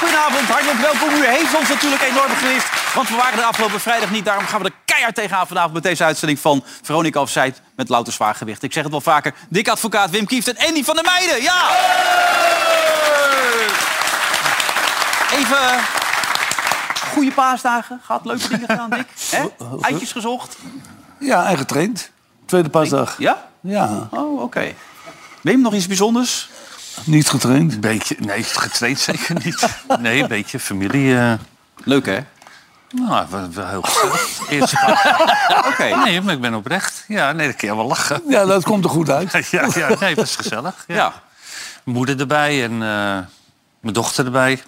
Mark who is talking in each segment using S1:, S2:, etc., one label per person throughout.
S1: Hartelijk welkom. U heeft ons natuurlijk enorm gemist. Want we waren de afgelopen vrijdag niet. Daarom gaan we er keihard tegenaan vanavond met deze uitzending van Veronica of Zijt met louter zwaargewicht. Ik zeg het wel vaker. Dik advocaat Wim Kieft en Andy van der Meijden. Ja! Even eh, goede paasdagen gehad. Leuke dingen gedaan, Dick. Hè? Eitjes gezocht.
S2: Ja, en getraind. Tweede paasdag.
S1: Ja?
S2: Ja,
S1: Oh, oké. Wim, nog iets bijzonders?
S2: niet getraind.
S3: Beetje, nee, getraind zeker niet. Nee, een beetje familie. eh,
S1: Leuk, hè?
S3: nou, wel, wel heel goed. Eerste paar-
S1: Oké.
S3: Nee, maar ik ben oprecht. Ja, nee, dat kun je wel lachen.
S2: Ja, dat komt er goed uit.
S3: Ja, ja nee, het was gezellig. Ja.
S1: Ja.
S3: Moeder erbij en eh, mijn dochter erbij.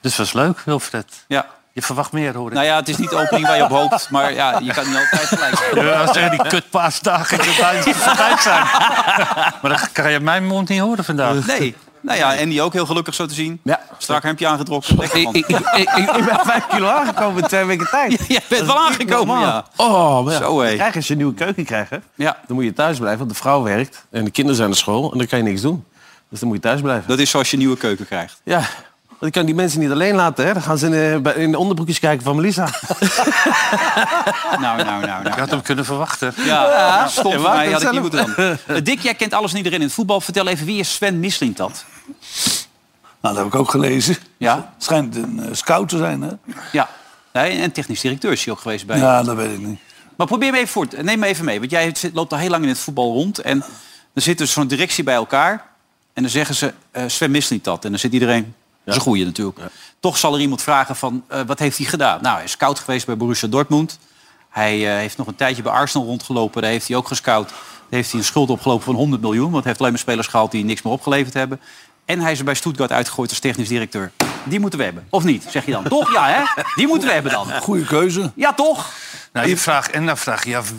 S3: Dus het was leuk, Wilfred.
S1: ja.
S3: Je verwacht meer, hoor ik.
S1: Nou ja, het is niet de opening waar je op hoopt, maar ja, je kan niet altijd gelijk hebben.
S3: Ja, als er die kutpaasdagen erbij voorbij zijn. Eh. Maar dat kan je mijn mond niet horen vandaag.
S1: Nee. Nou ja, en die ook heel gelukkig zo te zien.
S4: Ja.
S1: Strak hemdje aangetrokken. Lekker man.
S4: ik ben vijf kilo aangekomen in twee weken tijd.
S1: Je bent wel aangekomen, ja.
S4: Oh, maar ja.
S1: Zo, hé.
S4: Kijk, als je een nieuwe keuken krijgt, hè,
S1: Ja,
S4: dan moet je thuis blijven, want de vrouw werkt en de kinderen zijn naar school en dan kan je niks doen. Dus dan moet je thuis blijven.
S1: dat is zoals je nieuwe keuken krijgt.
S4: Ja, want ik kan die mensen niet alleen laten, hè. Dan gaan ze in, eh, bij- in de onderbroekjes kijken van Melissa.
S1: Nou, nou, nou,
S3: Je
S1: nou.
S3: had hem kunnen verwachten.
S1: Ja, nou, stom voor
S4: maakt
S1: mij. Had
S4: het
S1: ik niet
S4: zelf.
S1: moeten doen. Eh, Dick, jij kent alles en iedereen in het voetbal. Vertel even, wie is Sven Misling dat?
S2: Nou, dat heb ik ook gelezen.
S1: Ja.
S2: Schijnt een eh, scout te zijn, hè?
S1: Ja. Nee, en technisch directeur is hij ook geweest bij.
S2: Ja, dat weet ik niet.
S1: Maar probeer me even voort. Neem me even mee. Want jij zit- loopt al heel lang in het voetbal rond. En dan zit dus zo'n directie bij elkaar. En dan zeggen ze, eh Sven mist niet dat. En dan zit iedereen, dat is een goeie natuurlijk. Toch zal er iemand vragen van, eh, wat heeft hij gedaan? Nou, hij is scout geweest bij Borussia Dortmund. Hij eh, heeft nog een tijdje bij Arsenal rondgelopen. Daar heeft hij ook gescout. Daar heeft hij een schuld opgelopen van 100 miljoen. Want hij heeft alleen maar spelers gehaald die niks meer opgeleverd hebben. En hij is er bij Stuttgart uitgegooid als technisch directeur. Die moeten we hebben. Of niet, zeg je dan. Toch? Ja, hè? Die moeten we hebben dan.
S2: Goede keuze.
S1: Ja, toch?
S3: Nou, je vraagt, en dan vraag je je af wie.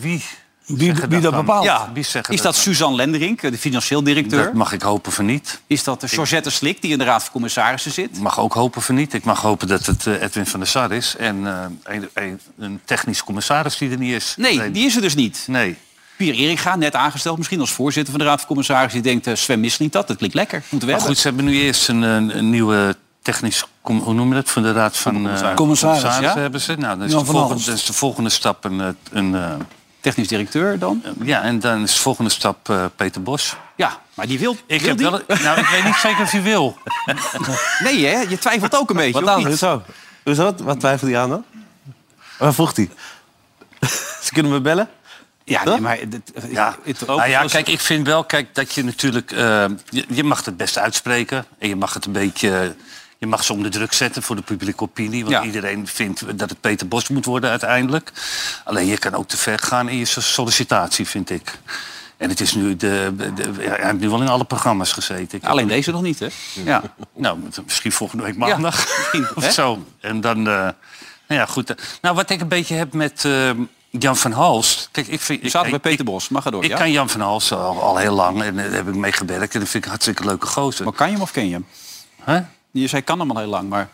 S2: Wie,
S3: Zeggen
S2: wie
S3: dat
S2: dat
S3: dan.
S2: bepaalt.
S3: Ja.
S1: Ja,
S3: Wie zeggen
S1: is dat
S3: dat dan?
S1: Suzanne Lenderink, de financieel directeur?
S3: Dat mag ik hopen van niet.
S1: Is dat de Georgette Slik, die in de Raad van Commissarissen zit?
S3: Ik mag ook hopen van niet. Ik mag hopen dat het eh, Edwin van der Sar is. En eh, een, een- een technisch commissaris die er niet is.
S1: Nee, die is er dus niet.
S3: Nee.
S1: Pier Eringa, net aangesteld misschien als voorzitter van de Raad van Commissarissen... die denkt, eh, Sven Misling dat, dat klinkt lekker, moeten we
S3: Maar
S1: hebben.
S3: goed, ze hebben nu eerst een, een, een nieuwe technisch... com- Hoe noem je dat? Van de Raad van... eh,
S2: Commissaris,
S3: commissarissen
S1: ja.
S3: hebben ze. Nou, dan is,
S2: Jan
S3: de
S2: van
S3: volgende,
S2: Alst.
S3: dan is de volgende stap een... eh, een eh,
S1: Technisch directeur dan?
S3: ja, en dan is de volgende stap eh, Peter Bos.
S1: Ja, maar die wil,
S3: Ik,
S1: wil
S3: heb
S1: die?
S3: wel, nou, ik weet niet zeker of hij wil.
S1: Nee, hè? je twijfelt ook een beetje.
S4: Wat
S1: of
S3: nou,
S4: dan?
S1: niet?
S4: Hoezo? Hoezo? Wat- Wat twijfelde hij aan dan? Waar vroeg hij? ze kunnen me bellen?
S1: Ja, nee, maar... dit- eh,
S3: Ja,
S1: het-
S3: nou ja, kijk, ik vind wel kijk, dat je natuurlijk... eh, je, je mag het best uitspreken. En je mag het een beetje... Je mag ze onder druk zetten voor de publieke opinie. Want
S1: Ja.
S3: iedereen vindt dat het Peter Bos moet worden uiteindelijk. Alleen je kan ook te ver gaan in je so- sollicitatie, vind ik. En het is nu de, de- hij heeft nu wel in alle programma's gezeten. Ik heb-
S1: Alleen deze nog niet, hè? Ja.
S3: nou, misschien volgende week maandag.
S1: misschien, hè?
S3: of zo. En dan, eh, nou ja, goed. Nou, wat ik een beetje heb met eh, Jan van Halst. Kijk, ik vind.
S1: Je
S3: ik-
S1: staat
S3: ik-
S1: bij Peter
S3: ik-
S1: Bos, mag ga door.
S3: ik
S1: ja?
S3: kan Jan van Hals eh, al, al heel lang en daar heb ik mee gewerkt. En dat vind ik een hartstikke leuke gozer.
S1: Maar kan je hem of ken je hem?
S3: Hè?
S1: Je zei kan hem al heel lang, maar...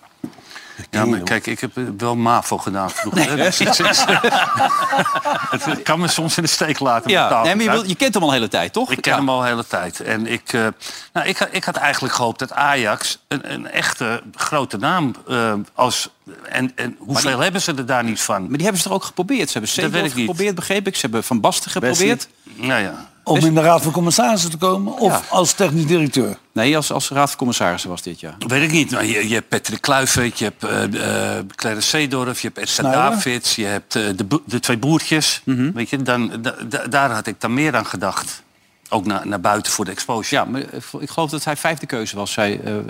S3: Ja, maar kijk, ik heb eh, wel MAVO gedaan vroeger. hè. Dus het is- het kan me soms in de steek laten.
S1: Ja,
S3: betaald.
S1: nee, maar je, wil- je kent hem al een hele tijd, toch?
S3: Ik ken
S1: Ja.
S3: hem al de hele tijd. En ik, eh, nou, ik, had- ik had eigenlijk gehoopt dat Ajax een, een echte grote naam eh, als... En, en hoeveel hebben ze er daar niet van?
S1: Maar die hebben ze toch ook geprobeerd? Ze hebben
S3: weet
S1: Seedorf
S3: ik niet.
S1: geprobeerd, begreep ik. Ze hebben Van Basten geprobeerd.
S3: Nou ja.
S2: Om in de raad van commissarissen te komen of als technisch directeur.
S1: Nee, als, als raad van commissarissen was dit, ja.
S3: Weet ik niet. Maar je, je hebt Patrick Kluivert, je hebt eh eh Claire Seedorf, je hebt Esther
S2: Snijder.
S3: Davids, je hebt eh, de, bo- de twee broertjes.
S2: Mhm.
S3: Weet je, dan, da- da- daar had ik dan meer aan gedacht. Ook naar, naar buiten voor de exposure.
S1: Ja, maar eh, ik geloof dat hij vijfde keuze was. Zei, eh, eh,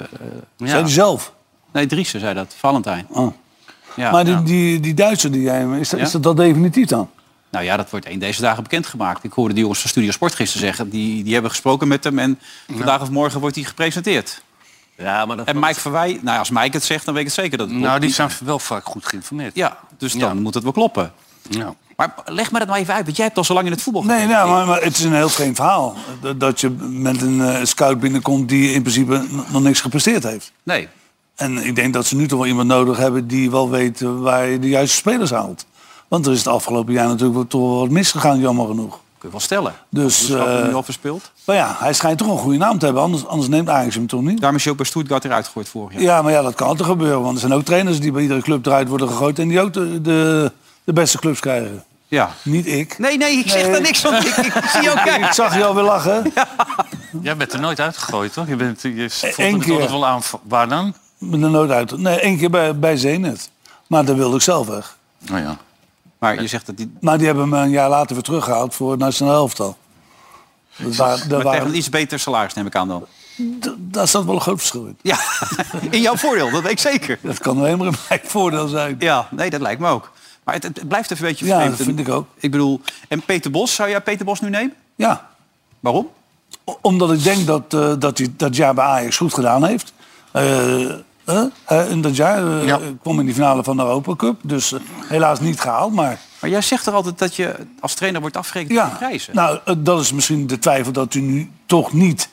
S3: Ja.
S2: Zijn die zelf.
S1: nee, Driessen zei dat. Valentijn.
S2: Oh.
S1: Ja,
S2: maar die,
S1: nou,
S2: die, die Duitser die jij... Is, dat-
S1: Ja?
S2: is dat dat definitief dan?
S1: nou ja, dat wordt één deze dagen bekendgemaakt. Ik hoorde die jongens van Studio Sport gisteren zeggen. Die, die hebben gesproken met hem en vandaag of morgen wordt hij gepresenteerd.
S4: Ja, maar dat
S1: En Mike Verwij, nou ja, als Mike het zegt, dan weet ik het zeker dat het
S3: Nou,
S1: klopt.
S3: die zijn wel vaak goed geïnformeerd.
S1: Ja, dus dan moet het wel kloppen.
S3: Ja.
S1: Maar leg me dat maar even uit, want jij hebt al zo lang in het voetbal
S2: Nee,
S1: gezeten.
S2: nou, maar, maar het is een heel vreemd verhaal. Dat- Dat je met een eh, scout binnenkomt die in principe n- nog niks gepresteerd heeft.
S1: Nee.
S2: En ik denk dat ze nu toch wel iemand nodig hebben die wel weet eh, waar je de juiste spelers haalt. Want er is het afgelopen jaar natuurlijk wel toch wel wat misgegaan, jammer genoeg.
S1: Oké. je wel stellen.
S2: Dus,
S1: Dus uh,
S2: eh,
S1: nu al verspeeld.
S2: maar ja, hij schijnt toch een goede naam te hebben. Anders, anders neemt Ajax hem toch niet?
S1: Daarom is je ook bij Stuttgart eruit gegooid vorig jaar.
S2: Ja, maar ja, dat kan altijd gebeuren. Want er zijn ook trainers die bij iedere club eruit worden gegooid... en die ook de, de, de beste clubs krijgen.
S1: Ja.
S2: Niet ik.
S1: Nee, nee, ik zeg
S2: Nee.
S1: daar niks van. Ik, ik zie jou
S2: Ik
S1: kijken.
S2: zag je alweer lachen.
S3: Jij bent er nooit uitgegooid, toch? Je, bent, je voelt
S2: Eén
S3: het
S2: E, keer.
S3: altijd wel aan. Waar dan?
S2: Met een nood uit. Nee, één keer bij, bij Zenit. Maar daar wilde ik zelf weg.
S3: Nou ja.
S1: Maar je zegt dat die...
S2: Maar die hebben me een jaar later weer teruggehaald voor het nationaal elftal. Dat waar, daar,
S1: Maar tegen
S2: waren,
S1: een iets beter salaris neem ik aan dan.
S2: d- daar zat wel een groot verschil in.
S1: Ja, in jouw voordeel, dat weet ik zeker.
S2: Dat kan alleen maar in mijn voordeel zijn.
S1: Ja, nee, dat lijkt me ook. Maar het, het blijft even een beetje
S2: Ja,
S1: vreemd.
S2: dat vind ik ook.
S1: Ik bedoel, en Peter Bos, zou jij Peter Bos nu nemen?
S2: Ja,
S1: Waarom?
S2: o- omdat ik denk dat, eh, dat hij dat jaar bij Ajax goed gedaan heeft. Eh, eh, eh, in dat jaar eh,
S3: Ja.
S2: kwam in die finale van de Europa Cup. Dus eh, helaas niet gehaald, maar...
S1: Maar jij zegt er altijd dat je als trainer wordt afgerekend op de prijzen.
S2: Nou, eh, dat is misschien de twijfel dat u nu toch niet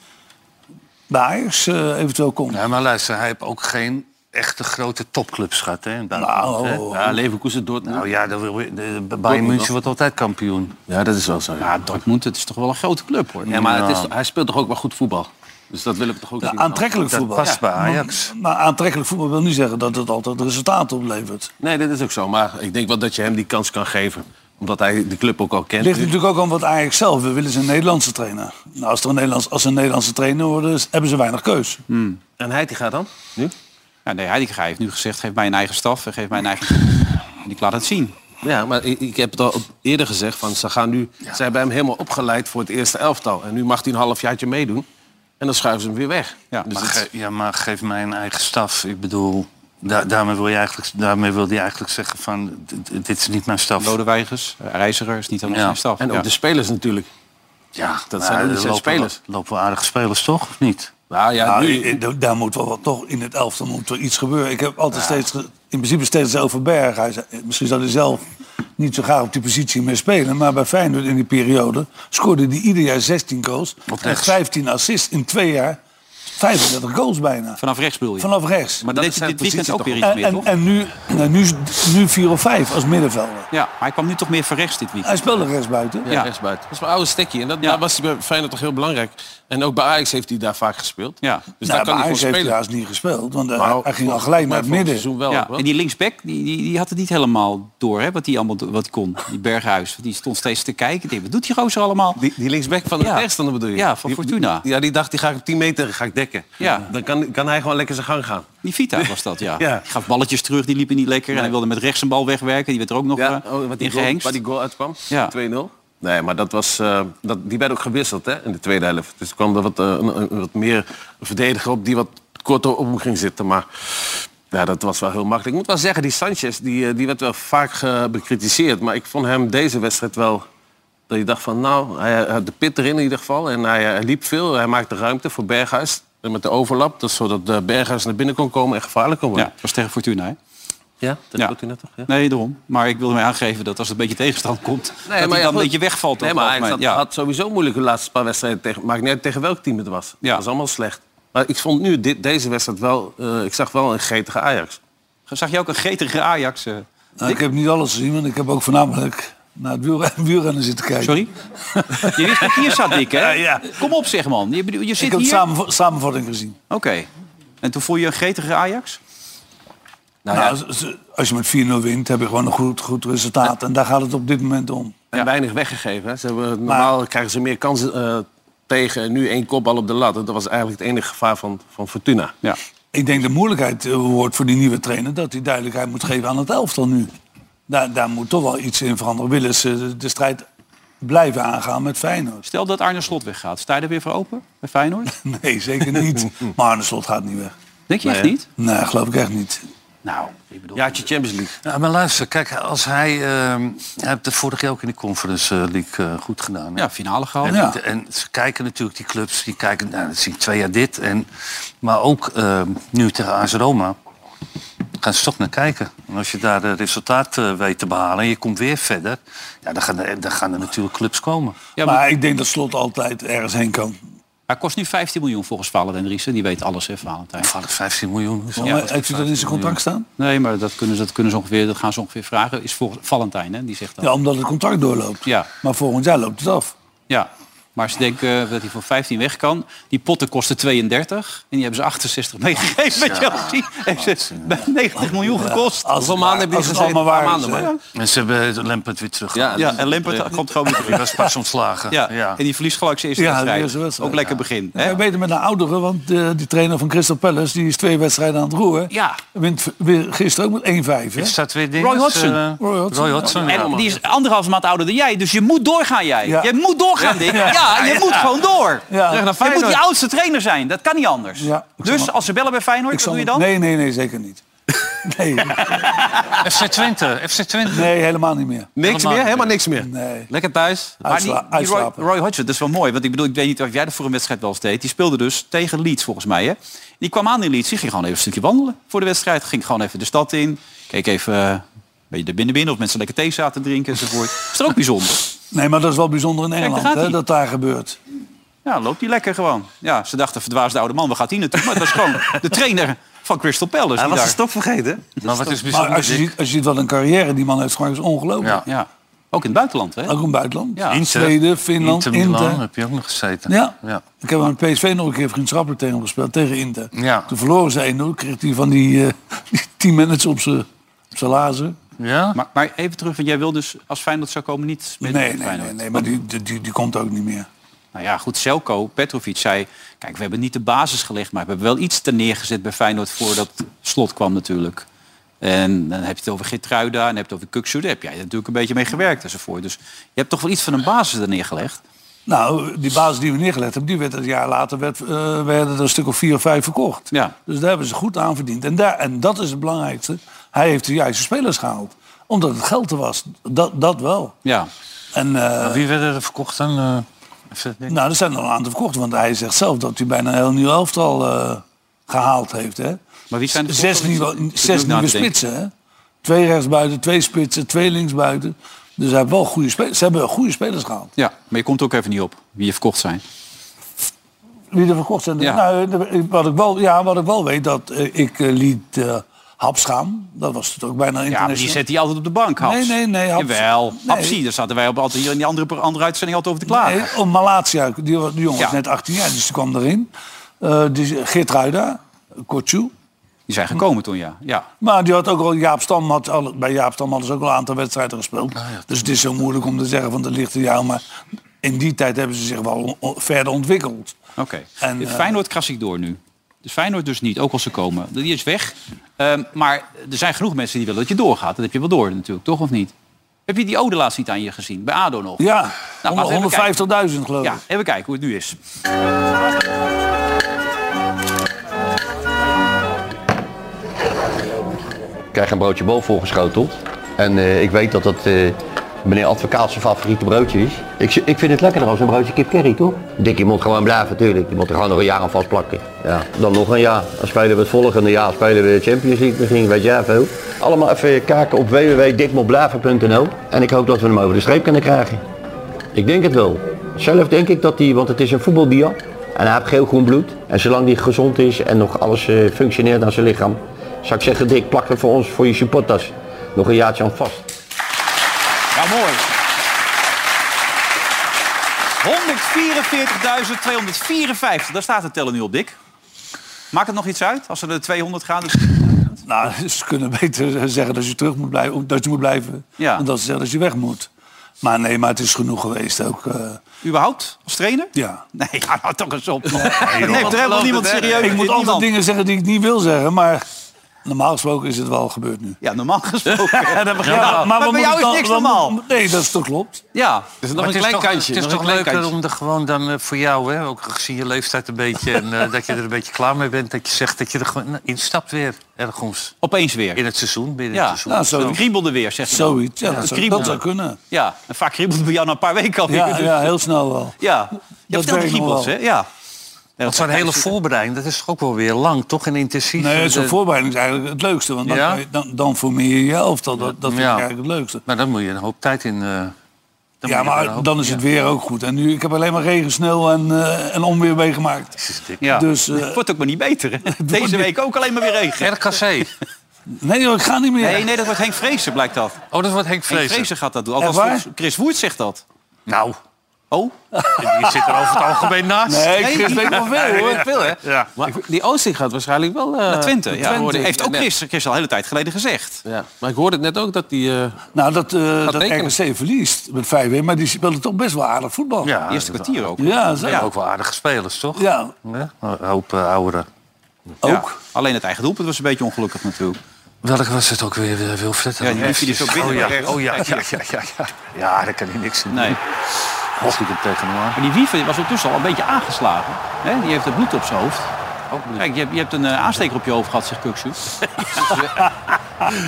S2: bij Ajax eh, eventueel komt.
S3: Nee, maar luister, hij heeft ook geen echte grote topclubs gehad. Hè, in Duitsland,
S2: Nou,
S3: hè?
S4: Ja, Leverkusen, Dortmund.
S3: nou ja, de, de, de Bayern München wordt altijd kampioen.
S4: ja, dat is wel zo. Ja,
S1: Ja, Dortmund, het is toch wel een grote club hoor.
S4: Ja, maar het is, hij speelt toch ook wel goed voetbal. Dus dat willen we toch ook zien.
S2: Aantrekkelijk
S3: Dat
S2: voetbal.
S3: past bij
S2: maar-
S3: Ajax.
S2: Maar, aantrekkelijk voetbal wil niet zeggen dat het altijd resultaat oplevert.
S4: Nee, dat is ook zo. Maar ik denk wel dat je hem die kans kan geven. Omdat hij de club ook al kent.
S2: Het ligt natuurlijk ook aan wat Ajax zelf wil. Willen ze een Nederlandse trainer? Nou, als, er een Nederlands, als ze een Nederlandse trainer worden, is- hebben ze weinig keus.
S4: En hij die gaat dan? Nu?
S1: Ja, nee, Heidegger heeft nu gezegd, geef mij een eigen staf en geef mij een eigen... En ik laat het zien.
S4: Ja, maar ik, ik heb het al eerder gezegd. Van, ze, gaan nu, ze hebben hem helemaal opgeleid voor het eerste elftal. En nu mag hij een halfjaartje meedoen. En dan schuiven ze hem weer weg.
S1: Ja,
S4: Dus
S3: Maar
S4: het-
S3: ge- ja, maar geef mij een eigen staf. Ik bedoel, da- daarmee, wil je eigenlijk, daarmee wil hij eigenlijk zeggen van... d- d- dit is niet mijn staf.
S1: Lodewijgers, eh, Reiziger is niet helemaal
S3: Ja.
S1: zijn staf.
S4: en ook
S1: Ja.
S4: de spelers natuurlijk.
S3: Ja,
S4: dat
S3: maar
S4: zijn ook niet
S3: er
S4: zes
S3: lopen-
S4: spelers.
S3: Lopen aardige spelers toch, of niet?
S4: Nou ja,
S2: Nou,
S4: nu,
S2: i- i- daar moet wel wat, toch in het elftal moet er iets gebeuren. Ik heb altijd steeds, ge- in principe steeds zelf Berg. Hij, zei- misschien zou hij zelf niet zo graag op die positie meer spelen. Maar bij Feyenoord in die periode scoorde hij ieder jaar 16 goals. En
S3: rechts.
S2: 15 assists in twee jaar. 35 goals bijna.
S1: Vanaf rechts bedoel je?
S2: Vanaf rechts.
S1: Maar
S4: dat
S1: dit,
S4: is zijn
S1: dit weekend
S4: positie
S1: ook weer
S4: toch?
S1: iets
S2: En,
S1: meer,
S2: en,
S1: toch?
S2: en nu, nou, nu, nu vier of vijf als middenvelder.
S1: Ja, maar hij kwam nu toch meer van rechts dit
S2: Hij
S1: weekend.
S2: speelde rechtsbuiten.
S4: ja,
S1: ja.
S4: rechtsbuiten. Dat is mijn oude stekje. En dat,
S1: Ja.
S4: daar was hij bij Feyenoord toch heel belangrijk. En ook bij Ajax heeft hij daar vaak gespeeld.
S1: Ja.
S4: Dus
S2: nou,
S4: daar kan
S2: bij
S4: hij voor
S2: Ajax heeft hij
S4: spelen.
S2: haast niet gespeeld. Want eh,
S4: Maar
S2: hij ging al
S4: volgens mij
S2: gelijk naar het
S4: volgend
S2: midden.
S4: seizoen wel,
S1: Ja,
S4: hoor.
S1: en die linksback, die, die, die had het niet helemaal door, hè, wat die allemaal do- wat die kon. Die Berghuis, die stond steeds te kijken. Ik denk, Wat doet die gozer allemaal?
S4: Die, die linksback van de
S1: Ja.
S4: tegenstander bedoel je?
S1: Ja, van
S4: Die-
S1: Fortuna.
S4: die- ja, die dacht, die ga ik op 10 meter ga ik dekken.
S1: Ja.
S4: Dan kan, kan hij gewoon lekker zijn gang gaan.
S1: Die Vita was dat, ja.
S4: Ja.
S1: Die gaf balletjes terug, die liepen niet lekker. En hij wilde met rechts een bal wegwerken. Die werd er ook nog
S4: Ja,
S1: eh,
S4: oh, wat die
S1: in
S4: goal,
S1: gehengst.
S4: waar die goal uitkwam.
S1: Ja.
S4: 2-0. Nee, maar dat was, eh, dat, die werd ook gewisseld hè, in de tweede helft. Dus er kwam er wat, eh, een, een- wat meer verdediger op die wat korter op hem ging zitten. Maar ja, dat was wel heel makkelijk. Ik moet wel zeggen, die Sanchez die, eh, die werd wel vaak eh, bekritiseerd. Maar ik vond hem deze wedstrijd wel... Dat je dacht van, nou, hij had de pit erin in ieder geval. En hij, eh, hij liep veel. Hij maakte ruimte voor Berghuis. En Met de overlap, dus zodat eh, Berghuis naar binnen kon komen en gevaarlijk kon
S1: Ja,
S4: worden.
S1: dat was tegen Fortuna, hè?
S4: Ja, dat
S1: Ja.
S4: doet hij net toch? Ja.
S1: Nee, daarom. Maar ik wilde mij aangeven dat als het een beetje tegenstand komt... dat hij dan
S4: ja,
S1: een
S4: goed.
S1: beetje wegvalt.
S4: Nee,
S1: op
S4: maar
S1: dat
S4: hij had,
S1: moment. ja.
S4: had sowieso moeilijk de laatste paar wedstrijden tegen. Maakt niet uit tegen welk team het was.
S1: Ja.
S4: Het was allemaal slecht. Maar ik vond nu dit, deze wedstrijd wel. eh, ik zag wel een gretige Ajax.
S1: Zag je ook een gretige Ajax? eh,
S2: Nou, ik heb niet alles gezien, want ik heb ook voornamelijk naar het wielren- wielrennen zitten kijken.
S1: Sorry? je wist dat hier zat, Dick, hè?
S2: ja.
S1: Kom op, zeg, man. Je, bedoel- je
S2: Ik
S1: zit
S2: heb de
S1: hier...
S2: samenv- samenvatting gezien.
S1: Oké. En toen voel je een gretige Ajax?
S4: Nou,
S2: Nou,
S4: ja,
S2: als- als- Als je met 4-0 wint, heb je gewoon een goed, goed resultaat. En daar gaat het op dit moment om.
S4: en weinig weggegeven. Hè. Ze hebben, normaal krijgen ze meer kansen eh, tegen. En nu één kopbal op de lat. En Dat was eigenlijk het enige gevaar van, van Fortuna.
S1: Ja.
S2: Ik denk de moeilijkheid eh, wordt voor die nieuwe trainer... dat hij duidelijkheid moet geven aan het elftal nu. Daar, daar moet toch wel iets in veranderen. Willen ze de- de strijd blijven aangaan met Feyenoord?
S1: Stel dat Arne Slot weggaat. Sta je er weer voor open bij Feyenoord?
S2: Nee, zeker niet. Maar Arne Slot gaat niet weg.
S1: Denk je echt niet?
S2: Nee, geloof ik echt niet.
S1: Nou, ik bedoel...
S4: Jaartje Champions League.
S3: Ja, maar luister, kijk, als hij... ehm hij heeft het vorig jaar ook in de Conference League eh, goed gedaan. hè?
S1: Ja, finale gehaald.
S3: En,
S2: Oh, Ja.
S3: en ze kijken natuurlijk, die clubs, die kijken, nou, dat zien twee jaar dit. En, maar ook eh, nu tegen AS Roma gaan ze toch naar kijken. En als je daar de resultaat eh, weet te behalen en je komt weer verder... Ja, dan gaan, er- dan gaan er natuurlijk clubs komen.
S1: Ja, maar
S2: maar ik denk dat Slot altijd ergens heen kan.
S1: hij kost nu 15 miljoen volgens Valentijn Driessen. Die weet alles, hè, Valentijn.
S3: Van 15 miljoen. is-
S2: Maar heeft u dat in zijn contract staan?
S1: Nee, maar dat kunnen, ze, dat kunnen ze ongeveer, dat gaan ze ongeveer vragen. Is volgens Valentijn, hè? Die zegt dat.
S2: Ja, omdat het contract doorloopt.
S1: Ja.
S2: Maar volgend jaar loopt het af.
S1: Ja. Maar ze denken eh, dat hij voor 15 weg kan. Die potten kosten 32. En die hebben ze 68 meegegeven bij Chelsea. Heeft ze bij 90 miljoen
S2: Als
S1: gekost.
S2: het,
S4: Hoeveel maanden hebben
S2: maar, als
S4: die
S2: het
S4: gezeten?
S2: allemaal
S4: Een paar
S2: waar is.
S4: maanden,
S2: hè.
S4: maar.
S3: En ze hebben Lampert weer terug.
S4: Ja,
S1: Ja, en Lampert komt gewoon weer
S3: Die
S1: terug.
S3: was pas ontslagen.
S1: Ja.
S3: Ja.
S1: En die verliest gelijk zijn eerste
S2: Ja, de
S1: wedstrijd.
S2: eerste wedstrijd,
S1: Ook lekker begin.
S2: Ja,
S1: Hè?
S2: beter met een oudere, want eh, die trainer van Crystal Palace die is twee wedstrijden aan het roeren.
S1: Ja.
S2: Wint v- weer gisteren ook met 1-5. hè?
S3: Is dat weer ding?
S1: Roy Hodgson.
S3: eh,
S2: Roy Hodgson.
S3: Roy Hodgson, ja.
S1: En die is anderhalf maand ouder dan jij, dus je moet doorgaan jij.
S2: Ja.
S1: Je moet doorgaan, Dick. Ja, je moet gewoon door.
S2: Ja. Terug naar
S1: Je moet die oudste trainer zijn, dat kan niet anders.
S2: Ja.
S1: Dus als ze bellen bij Feyenoord, wat doe je dan?
S2: Nee, nee, nee, zeker niet. Nee,
S3: FC Twente. FC Twente.
S2: nee, helemaal niet meer.
S4: Niks meer? Helemaal niks meer.
S2: Nee.
S4: Lekker thuis.
S1: Maar die,
S2: Uitsla-
S1: die Roy,
S2: uitslapen.
S1: Roy Hodgson, dat is wel mooi. Want ik bedoel, ik weet niet of jij dat voor een wedstrijd wel eens deed. Die speelde dus tegen Leeds volgens mij. Hè? Die kwam aan in Leeds. Die ging gewoon even een stukje wandelen voor de wedstrijd. Ging gewoon even de stad in. Keek even eh, een beetje de binnen binnen of mensen lekker thee zaten te drinken enzovoort. is er ook bijzonder.
S2: nee, maar dat is wel bijzonder in
S1: daar
S2: Engeland
S1: gaat
S2: hè,
S1: hij.
S2: dat daar gebeurt.
S1: Ja, loopt die lekker gewoon. Ja, ze dachten, verdwaasde oude man, waar gaat hij naartoe? Maar dat is gewoon de trainer van Crystal Palace.
S4: Hij
S1: die
S4: was de
S1: daar,
S4: stop vergeten.
S3: Maar Nou, wat is bijzonder?
S2: Maar als je,
S3: Dick?
S2: ziet, als je ziet wat een carrière die man heeft gemaakt, is ongelooflijk.
S3: Ja.
S1: ja, ook in het buitenland, hè?
S2: Ook in het buitenland.
S1: Ja.
S3: Inter.
S2: Zweden, Finland,
S3: Inter Milan
S2: Inter.
S3: heb je ook nog gezeten.
S2: Ja.
S3: Ja.
S2: Ik heb aan PSV nog een keer vriendschappelijk tegen hem gespeeld, tegen Inter.
S3: Ja.
S2: Toen verloren ze 1-0, kreeg hij van die, eh, die 10 minutes op zijn op zijn lazen.
S3: Ja?
S1: Maar, maar even terug, want jij wil dus als Feyenoord zou komen niet meer
S2: Nee,
S1: doen
S2: nee,
S1: met
S2: nee,
S1: Feyenoord.
S2: nee, maar die, die, die, die komt ook niet meer.
S1: Nou ja, goed, Selko, Petrovic zei... Kijk, we hebben niet de basis gelegd, maar we hebben wel iets ter neergezet bij Feyenoord voordat slot kwam natuurlijk. En dan heb je het over Gitruida en heb je het over Kuksu. Daar heb jij natuurlijk een beetje mee gewerkt enzovoort. Dus je hebt toch wel iets van een basis er neergelegd.
S2: Nou, die basis die we neergelegd hebben, die werd een jaar later werd, eh, werden er een stuk of vier of vijf verkocht.
S1: Ja.
S2: Dus daar hebben ze goed aan verdiend. En, daar, en dat is het belangrijkste. Hij heeft de juiste spelers gehaald. Omdat het geld er was. Dat, dat wel.
S1: Ja,
S2: En eh,
S3: Wie werden er verkocht dan? eh, FC Twente?
S2: nou, er zijn er al een aantal verkocht. Want hij zegt zelf dat hij bijna een heel nieuw elftal eh, gehaald heeft. Hè?
S1: maar wie zijn er
S2: Zes
S1: toch- Ik
S2: nieuwe,
S1: zit nu
S2: zes
S1: na
S2: nieuwe
S1: te denken.
S2: spitsen. Hè? Twee rechtsbuiten, twee spitsen, twee linksbuiten. Dus hij heeft wel goede spelers. Ze hebben goede spelers gehaald.
S1: Ja, maar je komt er ook even niet op wie je verkocht zijn.
S2: Wie er verkocht zijn.
S1: Ja.
S2: Nou, de- wat, ik wel, ja, wat ik wel weet, dat eh, ik eh, liet eh Hapschaam. Dat was het ook bijna
S1: Ja,
S2: internationaal.
S1: maar die zet hij altijd op de bank, Haps.
S2: Nee, nee, nee, Haps.
S1: Jawel,
S2: Nee.
S1: Hapsie, daar zaten wij op, altijd hier in die andere, andere uitzending altijd over te klagen.
S2: Nee, om Malatia, die, wa- die jongen was
S1: Ja.
S2: net 18 jaar, dus die kwam erin. Eh dus Geert Ruida, Kortjoe.
S1: Die zijn gekomen toen, ja. ja.
S2: Maar die had ook al Jaap Stam had al, bij Jaap Stam hadden ze ook al een aantal wedstrijden gespeeld.
S1: Ah,
S2: Dus het is zo moeilijk om te zeggen van de lichte jou. Maar in die tijd hebben ze zich wel on- on- verder ontwikkeld.
S1: Oké.
S2: En,
S1: Dit
S2: eh,
S1: Feyenoord kras ik door nu. Dus Feyenoord dus niet, ook als ze komen. Die is weg. Ehm, maar er zijn genoeg mensen die willen dat je doorgaat. Dat heb je wel door natuurlijk, toch of niet? Heb je die Ode laatst niet aan je gezien? Bij ADO nog?
S2: Ja,
S1: Nou, laten we even
S2: honderd- 150.000 geloof ik.
S1: Ja, even kijken hoe het nu is.
S5: Ik krijg een broodje bol voorgeschoteld. En eh, ik weet dat dat eh, meneer advocaat zijn favoriete broodje is. Ik, z- ik vind het lekkerder als een broodje kip curry, toch? Dik, je moet gewoon blijven, natuurlijk. Je moet er gewoon nog een jaar aan vastplakken. Ja, dan nog een jaar. Dan spelen we het volgende jaar, spelen we de Champions League misschien, weet jij veel. Allemaal even kijken op www.dikmoblaven.nl. En ik hoop dat we hem over de streep kunnen krijgen. Ik denk het wel. Zelf denk ik dat hij, want het is een voetbaldier. En hij heeft geel-groen bloed. En zolang hij gezond is en nog alles eh, functioneert aan zijn lichaam, zou ik zeggen, Dick, plak er voor ons, voor je supporters, nog een jaartje aan vast.
S1: Ja, mooi. 144.254. Daar staat de teller nu op, Dick. Maakt het nog iets uit als er de 200 gaan? Dus...
S2: Nou, ze kunnen beter zeggen dat je terug moet blijven, dat je moet blijven,
S1: Ja.
S2: dan dat ze zeggen dat je weg moet. Maar nee, maar het is genoeg geweest ook. eh,
S1: Überhaupt? Als trainer?
S2: ja.
S1: Nee, ja, nou toch eens op. man. dat neemt er helemaal niemand
S2: Ik
S1: serieus.
S2: moet
S1: Niemand.
S2: altijd dingen zeggen die ik niet wil zeggen, maar normaal gesproken is het wel gebeurd nu.
S1: Ja, normaal gesproken. dat
S2: Ja,
S1: maar bij jou is
S2: dan-
S1: niks
S2: we moeten-
S1: normaal.
S2: Nee, dat is toch klopt.
S1: Ja.
S4: Er is
S3: Maar
S4: nog een
S3: het is
S4: klein
S3: toch-
S4: kantje.
S3: Het
S4: nog
S3: is toch
S4: een klein
S3: leuker
S4: kantje.
S3: om er gewoon dan eh, voor jou, hè, ook gezien je leeftijd een beetje, en eh, dat je er een beetje klaar mee bent, dat je zegt dat je er gewoon nou, instapt weer ergens
S1: Opeens weer.
S3: in het seizoen, binnen
S1: Ja,
S3: het seizoen.
S2: Nou, zo,
S1: Het kriebelde weer, zeg je dan.
S2: zoiets. Ja, dat, zou,
S1: kriebelt.
S2: dat zou kunnen.
S1: Ja, en vaak kriebelde bij jou na een paar weken alweer.
S2: Ja,
S1: dus-
S2: ja, heel snel wel.
S1: ja. Je
S2: Dat
S1: vertelt die
S2: werkt nog
S1: kriebels, hè?
S2: wel.
S1: Ja. Nee,
S3: Want zo'n hele voorbereiding, dat is toch ook wel weer lang, toch? En eh, intensief.
S2: Nee, zo'n
S3: De-
S2: voorbereiding is eigenlijk het leukste. Want dan,
S3: Ja?
S2: kan je- dan, dan formeer je je elftal. Dat, dat vind
S3: Ja.
S2: ik eigenlijk het leukste.
S3: Maar dan moet je een hoop tijd in. eh, dan
S2: Ja,
S3: moet je er een
S2: maar
S3: hoop-
S2: dan is het weer ook goed. En nu, ik heb alleen maar regen, sneeuw en, eh, en onweer meegemaakt.
S1: Ja.
S2: Dus, eh,
S1: het wordt ook maar niet beter. hè? Deze week ook alleen maar weer regen.
S3: RKC.
S2: Nee joh, ik ga niet meer.
S1: Nee, nee, dat wordt Henk Vrezen, blijkt dat.
S3: Oh, dat wordt Henk
S1: Henk
S3: Vrezen.
S1: Vrezen gaat dat doen.
S2: Echt waar?
S1: Althans, Chris Woert zegt dat.
S3: Nou,
S1: Oh?
S3: Die zit er over het algemeen naast.
S2: Nee,
S1: Nee,
S2: ik
S1: die-
S2: weet nog
S4: Ja,
S2: veel
S4: je
S2: hoor.
S4: weet veel, hè?
S3: Ja.
S4: Maar die Oosting gaat waarschijnlijk wel... eh, naar
S1: Twente, ja.
S4: hoorde ik
S1: Heeft ook
S4: net.
S1: gisteren, gisteren al een hele tijd geleden gezegd.
S4: Ja. Maar ik hoorde het net ook dat die... eh,
S2: Nou, dat, eh dat
S4: tekenen.
S2: RKC verliest met 5-1, maar die speelde toch best wel aardig voetbal.
S3: Ja,
S1: Eerste
S3: dat-
S1: kwartier ook.
S2: ja, zo.
S3: Ja,
S2: ja.
S3: ook wel aardige spelers, toch? Ja, Een hoop eh, ouderen.
S1: Ja.
S2: ook.
S1: Alleen het eigen doelpunt was een beetje ongelukkig natuurlijk.
S3: Welke was het ook weer, eh, Wilfred?
S1: Ja, die liep je dus ook binnen.
S3: Oh ja,
S1: maar rechts.
S3: oh ja, ja, ja, ja, ja. Ja, daar kan hij niks in
S1: Nee.
S3: doen. Mocht ik hem tegen hem aan.
S1: Maar die wieven was ondertussen al een beetje aangeslagen. Hè? Die heeft het bloed op zijn hoofd. Kijk, je hebt, je hebt een eh, aansteker op je hoofd gehad, zegt Kuksu. Dus, eh,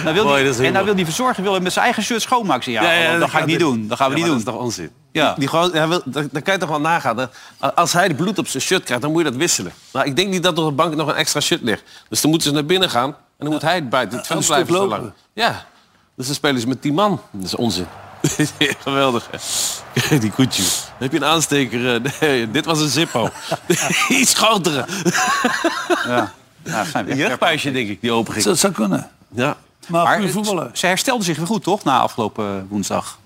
S1: nou wil
S4: Mooi, dat is
S1: die, en
S4: humor.
S1: nou wil die verzorger wil hem met zijn eigen shirt schoonmaken. Ik zeg, Ja,
S4: Ja, ja, dat
S1: dat, ga ik
S4: gaat
S1: niet
S4: niet.
S1: doen. Dat gaan we
S4: ja,
S1: niet
S4: maar
S1: doen.
S4: Dat is toch onzin?
S1: Ja.
S4: Die gewoon, hij wil, dan, dan kan je toch wel nagaan. hè? Als hij de bloed op zijn shirt krijgt, dan moet je dat wisselen. Maar ik denk niet dat er op de bank nog een extra shirt ligt. Dus dan moeten ze naar binnen gaan en dan moet hij het buiten. Het veld
S2: een stuk
S4: blijven zo
S2: lopen.
S4: lang. Ja, dus dan spelen ze met die man. Dat is onzin. Geweldig. hè? Die koetje. Dan heb je een aansteker. eh, Nee, dit was een Zippo. Iets grotere.
S1: Ja, Nou, dat zijn we
S4: Een
S1: echt
S4: jeugdbuisje, denk ik, die open ging.
S2: Dat zou kunnen.
S4: Ja.
S2: Maar,
S1: Maar
S2: goede
S1: het-
S2: voetballer.
S1: ze herstelde zich weer goed, toch? Na afgelopen eh, woensdag.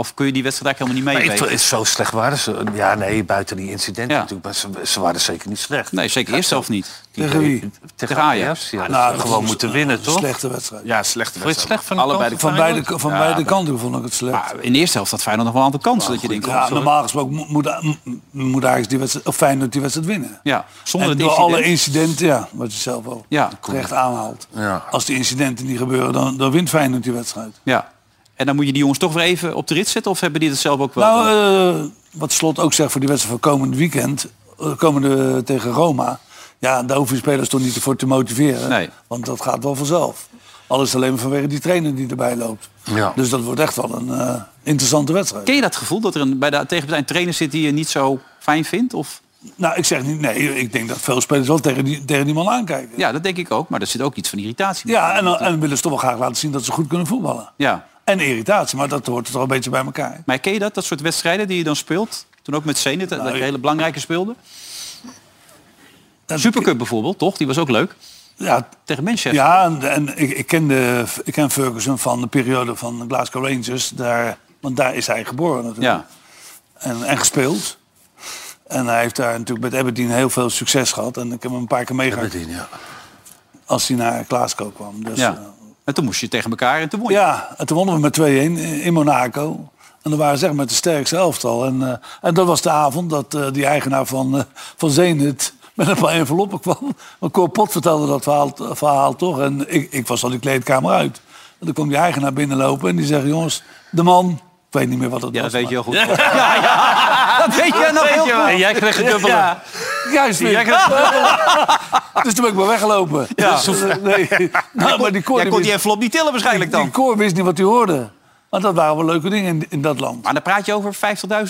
S1: Of kun je die wedstrijd eigenlijk helemaal niet
S3: Ik,
S1: mee?
S3: het zo slecht waren ze. Ja, nee, buiten die incidenten
S1: Ja.
S3: natuurlijk. Maar ze, ze waren zeker niet slecht.
S1: Nee, zeker eerst zelf niet.
S3: Die-
S2: Tegen wie?
S3: Tegen
S1: Tegen Ajax.
S3: Ajax. Ja,
S2: Nou,
S3: dat
S2: dat
S3: ze gewoon
S2: was
S3: moeten winnen,
S2: een
S3: toch?
S2: Slechte wedstrijd.
S4: Ja, slechte
S3: Vond je het slecht van de
S4: Allebei de
S3: kant?
S2: Van beide, van beide kanten vond ik het slecht.
S1: Maar in de eerste helft had Feyenoord nog wel een aantal kansen. dat je denkt, oh,
S2: ja,
S1: ja,
S2: normaal gesproken moet, moet, moet Ajax die wedstrijd, of Feyenoord die wedstrijd winnen.
S1: ja, zonder
S2: en
S1: het
S2: door
S1: incident.
S2: alle incidenten, ja, wat je zelf al
S1: Ja.
S2: terecht aanhaalt.
S3: Ja.
S2: Als die incidenten niet gebeuren, dan, dan wint Feyenoord die wedstrijd.
S1: Ja. En dan moet je die jongens toch weer even op de rit zetten? Of hebben die dat zelf ook wel?
S2: Nou, eh, wat Slot ook zegt voor die wedstrijd van komend weekend, eh, komende tegen Roma. Ja, daar hoeven je spelers toch niet voor te motiveren.
S1: Nee.
S2: Want dat gaat wel vanzelf. Alles alleen maar vanwege die trainer die erbij loopt.
S3: Ja.
S2: Dus dat wordt echt wel een eh, interessante wedstrijd.
S1: Ken je dat gevoel dat er een, bij de tegenpartij een trainer zit die je niet zo fijn vindt? Of?
S2: Nou, ik zeg niet, nee, ik denk dat veel spelers wel tegen die, tegen die man aankijken.
S1: Ja, dat denk ik ook. Maar er zit ook iets van irritatie.
S2: Ja, en, dan- en willen ze toch wel graag laten zien dat ze goed kunnen voetballen.
S1: ja.
S2: En irritatie, maar dat hoort er toch een beetje bij elkaar.
S1: Maar ken je dat? Dat soort wedstrijden die je dan speelt? Toen ook met Zenit, dat
S2: Nou,
S1: je
S2: ik- Nou,
S1: hele belangrijke speelde.
S2: Dat-
S1: Supercup bijvoorbeeld, toch? Die was ook leuk.
S2: Ja,
S1: Tegen Manchester.
S2: ja en, en ik, ik, ken de, ik ken Ferguson van de periode van de Glasgow Rangers. Daar, want daar is hij geboren natuurlijk.
S1: Ja.
S2: En, en gespeeld. En hij heeft daar natuurlijk met Aberdeen heel veel succes gehad. En ik heb hem een paar keer meegemaakt
S3: Aberdeen, ja.
S2: als hij naar Glasgow kwam. Dus, eh,
S1: ja. En toen moest je tegen elkaar en toen won je.
S2: Ja, en toen wonnen we met 2-1 in- in Monaco. En dat waren zeg maar de sterkste elftal. En, eh, en dat was de avond dat eh, die eigenaar van, eh van Zenit met een paar enveloppen kwam. Want Cor Pot vertelde dat verhaal, eh, verhaal toch. En ik, ik was al die kleedkamer uit. En toen kwam die eigenaar binnenlopen en die zegt... jongens, de man... Ik weet niet meer wat het
S1: Ja,
S2: was.
S1: dat weet je
S2: maar-
S1: heel goed. Ja, ja. Dat weet je nog heel goed.
S4: En jij kreeg het dubbele.
S1: Ja.
S2: Juist weer. dus toen ben ik maar weggelopen.
S1: Ja.
S2: Dus, eh, nee. nou, maar die Cor, die
S1: Jij kon die
S2: wist-
S1: envelop niet tillen waarschijnlijk dan.
S2: die Cor wist niet wat hij hoorde. Want dat waren wel leuke dingen in, in dat land.
S1: Maar dan praat je over 50.000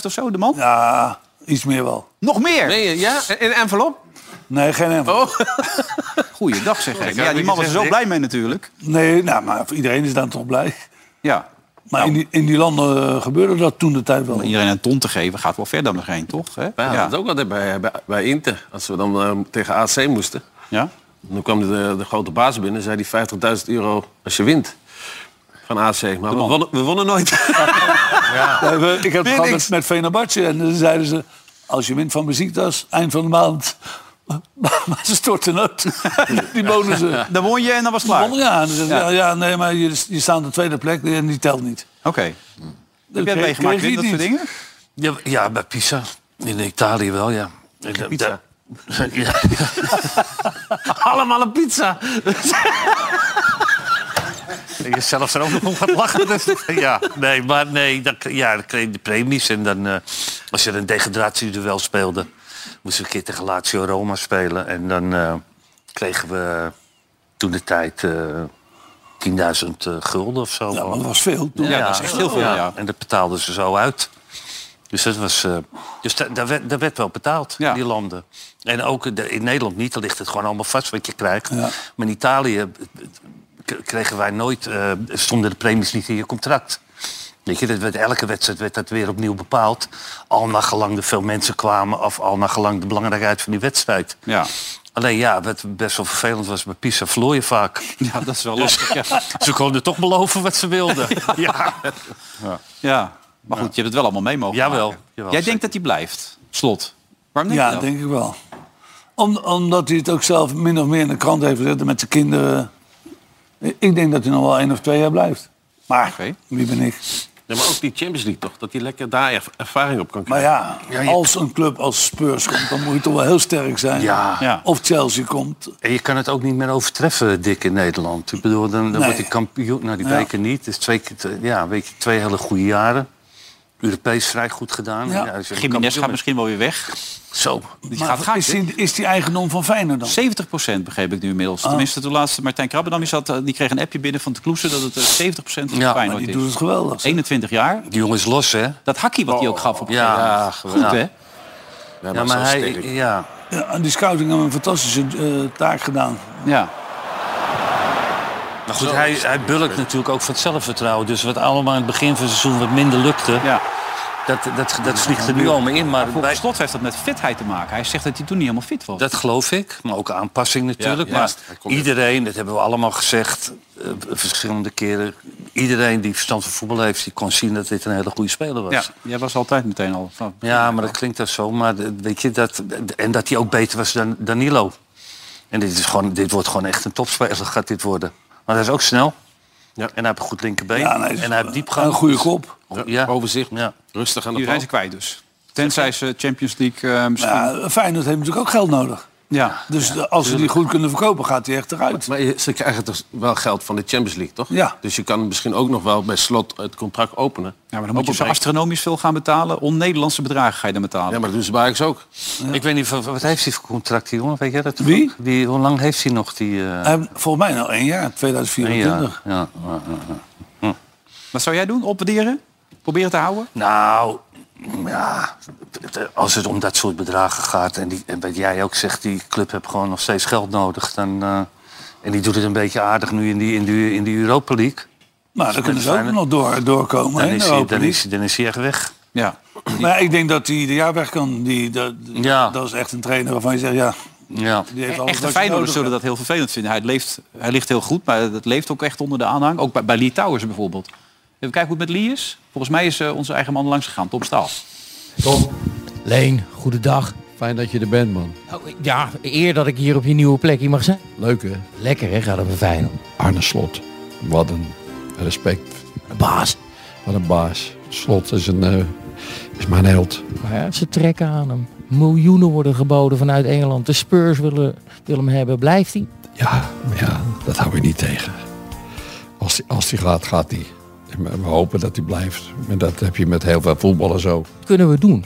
S1: of zo, de man?
S2: Ja, iets meer wel.
S1: Nog meer?
S4: Nee, eh, ja? In een envelop?
S2: Nee, geen envelop.
S1: Goeiedag zeg ik.
S4: Ja,
S1: Ja, die man was er zo
S4: ik-
S1: blij mee natuurlijk.
S2: Nee, nou, maar iedereen is daar toch blij.
S1: Ja.
S2: Maar in, die, in die landen eh, gebeurde dat toen de tijd wel.
S1: Om iedereen een ton te geven gaat wel ver dan nog heen, toch? Hè?
S4: Wij hadden
S1: Ja.
S4: het ook altijd bij, bij, bij Inter. Als we dan eh, tegen AC moesten.
S1: ja.
S4: Dan kwam de, de grote baas binnen en zei die 50.000 euro als je wint. Van AC. Maar we wonnen, we wonnen nooit.
S2: Ja, we- ik heb het
S4: niks.
S2: gehad met, met Venabatje en dan zeiden ze... als je wint van muziektas, eind van de maand... maar maar ze storten uit. die bonussen.
S1: Dan won je en dan was het klaar.
S2: Wonnen,
S1: Oké.
S2: Ja, en dan zeiden ze, ja. ja, nee, maar je, je staat op de tweede plek en die telt niet.
S1: Heb jij het meegemaakt, Wim, dat soort dingen?
S3: Ja, ja, bij Pisa. In Italië wel, ja. Pizza. Ja,
S4: Allemaal een pizza.
S3: En je zelfs er ook nog om gaat lachen. Dus, ja, nee, maar nee, dan, k- ja, dan kreeg je de premies. En dan, eh, als je een degradatieduel speelde, moesten we een keer tegen Lazio Roma spelen. En dan eh, kregen we toen de tijd eh 10.000 eh, gulden of zo.
S2: Ja, maar dat was veel. Toen.
S1: Ja, dat is echt heel veel, ja.
S3: En dat betaalden ze zo uit. Dus, dat was, eh, dus da- daar, werd, daar werd wel betaald,
S1: Ja.
S3: in die landen. En ook in de- in Nederland niet, dan ligt het gewoon allemaal vast wat je krijgt. Maar in Italië eh, k- kregen wij nooit, eh, stonden de premies niet in je contract. Weet je, dat werd, elke wedstrijd werd dat weer opnieuw bepaald. Al naar gelang er veel mensen kwamen of al naar gelang de belangrijkheid van die wedstrijd.
S1: Ja.
S3: Alleen ja, wat best wel vervelend was, bij Pisa verloor je vaak.
S1: Ja, dat is wel lastig. Ja.
S3: Ze konden toch beloven wat ze wilden. ja.
S1: ja. Maar goed, je hebt het wel allemaal mee mogen
S3: Jawel,
S1: maken.
S3: jawel,
S1: Jij
S3: zeker.
S1: denkt dat hij blijft, slot. Waarom denk
S2: Ja,
S1: je dat?
S2: denk ik wel. Om, omdat hij het ook zelf min of meer in de krant heeft gezet en met zijn kinderen. Ik denk dat hij nog wel één of twee jaar blijft. Maar
S1: Oké.
S2: wie ben ik?
S4: Ja, maar ook die Champions League toch? Dat hij lekker daar erv- ervaring op kan
S2: Maar
S4: krijgen.
S3: Ja,
S2: ja,
S3: je-
S2: als een club als Spurs komt, dan moet je toch wel heel sterk zijn.
S3: Ja.
S1: Ja.
S2: Of Chelsea komt.
S3: En je kan het ook niet meer overtreffen, Dick, in Nederland. Ik bedoel, dan, dan
S2: Nee.
S3: wordt hij kampioen. Nou, die
S2: Ja.
S3: beker niet. Dus twee, keer te- ja, weet je, twee hele goede jaren. Europees vrij goed gedaan.
S2: Ja.
S3: als je
S1: Jiménez
S3: kampioen
S1: gaat
S3: bent.
S1: misschien wel weer weg.
S3: Zo.
S1: Die
S2: Maar
S1: gaat gaan.
S2: is, die, is die eigendom van Feyenoord dan?
S1: 70% begreep ik nu inmiddels. Tenminste, de laatste Martijn Krabbe dan, die, zat, eh, die kreeg een appje binnen van de Kloesen dat het eh, 70% van
S3: maar
S2: Maar
S1: Feyenoord
S2: die
S1: is.
S2: doet het geweldig.
S1: 21 jaar.
S3: Die jongen is los, hè?
S1: Dat hakkie wat hij ook gaf op een
S3: Ja,
S1: gegeven moment.
S3: geweldig. Ja.
S1: Goed, hè?
S4: Ja,
S3: Ja,
S4: dat is
S3: maar
S4: wel
S3: hij...
S4: sterk.
S3: Ja.
S2: Ja, en die scouting hebben een fantastische eh, taak gedaan.
S1: Ja.
S3: Maar goed, hij, hij bulkt natuurlijk ook van het zelfvertrouwen. Dus wat allemaal in het begin van het seizoen wat minder lukte...
S1: ja.
S3: Dat, dat, dat vliegt er nu allemaal in. Maar
S1: Volgens
S3: bij-
S1: Slot heeft dat met fitheid te maken. Hij zegt dat hij toen niet helemaal fit was.
S3: Dat geloof ik, maar ook aanpassing natuurlijk.
S4: Ja, ja.
S3: maar
S4: Hij komt
S3: iedereen, dat hebben we allemaal gezegd, eh, verschillende keren. Iedereen die verstand van voetbal heeft, die kon zien dat dit een hele goede speler was.
S1: ja.
S3: Ja,
S1: Jij was altijd meteen al. van-
S3: maar dat klinkt dat zo. Maar de- weet je, dat, en dat hij ook beter was dan Danilo. En dit, is gewoon, dit wordt gewoon echt een topspeler, gaat dit worden. Maar hij is ook snel.
S4: Ja.
S3: En hij heeft een goed linkerbeen.
S2: Ja, nee,
S3: en hij heeft diepgang.
S2: Een goede kop.
S3: Ja.
S4: Ja, Overzicht,
S3: Ja.
S4: rustig aan de
S1: Nu
S4: bal.
S1: zijn ze kwijt dus. Tenzij ze Champions League eh, misschien... Ja.
S2: Ja, Feyenoord heeft natuurlijk ook geld nodig. Dus de- als ze die goed kunnen verkopen, gaat hij echt eruit.
S4: Maar je- ze krijgen toch wel geld van de Champions League, toch?
S2: Ja.
S4: Dus je kan misschien ook nog wel bij slot het contract openen.
S1: Ja, maar dan moet je zo
S4: Openbreken.
S1: astronomisch veel gaan betalen. On-Nederlandse bedragen ga je dan betalen.
S4: Ja, maar dat doen ze bij Ajax ook.
S3: Ik weet niet, wat wat heeft hij voor contract, die jongen? Weet jij dat?
S2: Wie?
S3: Die, hoe lang heeft hij nog? Die, eh,
S2: Hij heeft volgens mij al één jaar,
S3: één
S2: 2024.
S3: jaar? Ja, ja, ja.
S1: Wat zou jij doen? Opwaarderen? Proberen te houden?
S3: Nou, ja, als het om dat soort bedragen gaat en, die, en wat jij ook zegt, die club heeft gewoon nog steeds geld nodig. Dan, eh, en die doet het een beetje aardig nu in die, in die, in die Europa League.
S2: Maar dan kunnen ze ook
S3: Feyenoord-
S2: nog door, doorkomen.
S3: Dan
S2: hè, in
S3: is,
S2: de
S3: hij,
S2: Europa
S3: dan,
S2: League.
S3: is, dan is hij echt weg.
S1: Ja.
S2: Maar ik denk dat hij de jaar weg kan. Die, dat,
S3: Ja.
S2: dat is echt een trainer waarvan je zegt, ja,
S3: Ja.
S2: die heeft alles
S1: E- Echte
S2: wat je nodig
S1: Feyenoorders zullen
S2: hebt.
S1: dat heel vervelend vinden. Hij, leeft, hij ligt heel goed, maar dat leeft ook echt onder de aanhang. Ook bij, bij Lee Towers bijvoorbeeld. Even kijken hoe het met Lee is. Volgens mij is eh, onze eigen man langs gegaan, Tom Staal.
S6: Tom. Leen, goedendag.
S7: Fijn dat je er bent, man.
S6: Oh, ja, eer dat ik hier op je nieuwe plek hier mag zijn.
S7: Leuk, hè?
S6: Lekker hè, gaat het fijn.
S7: Arne Slot. Wat een respect.
S6: Baas.
S7: Wat een baas. Slot is, een, eh, is mijn held.
S6: Maar ja, ze trekken aan hem. Miljoenen worden geboden vanuit Engeland. De Spurs willen, willen hem hebben. Blijft hij?
S7: Ja, maar ja, dat hou je niet tegen. Als die, als die gaat, gaat hij. We hopen dat hij blijft. En dat heb je met heel veel voetballen zo.
S6: Wat kunnen we doen?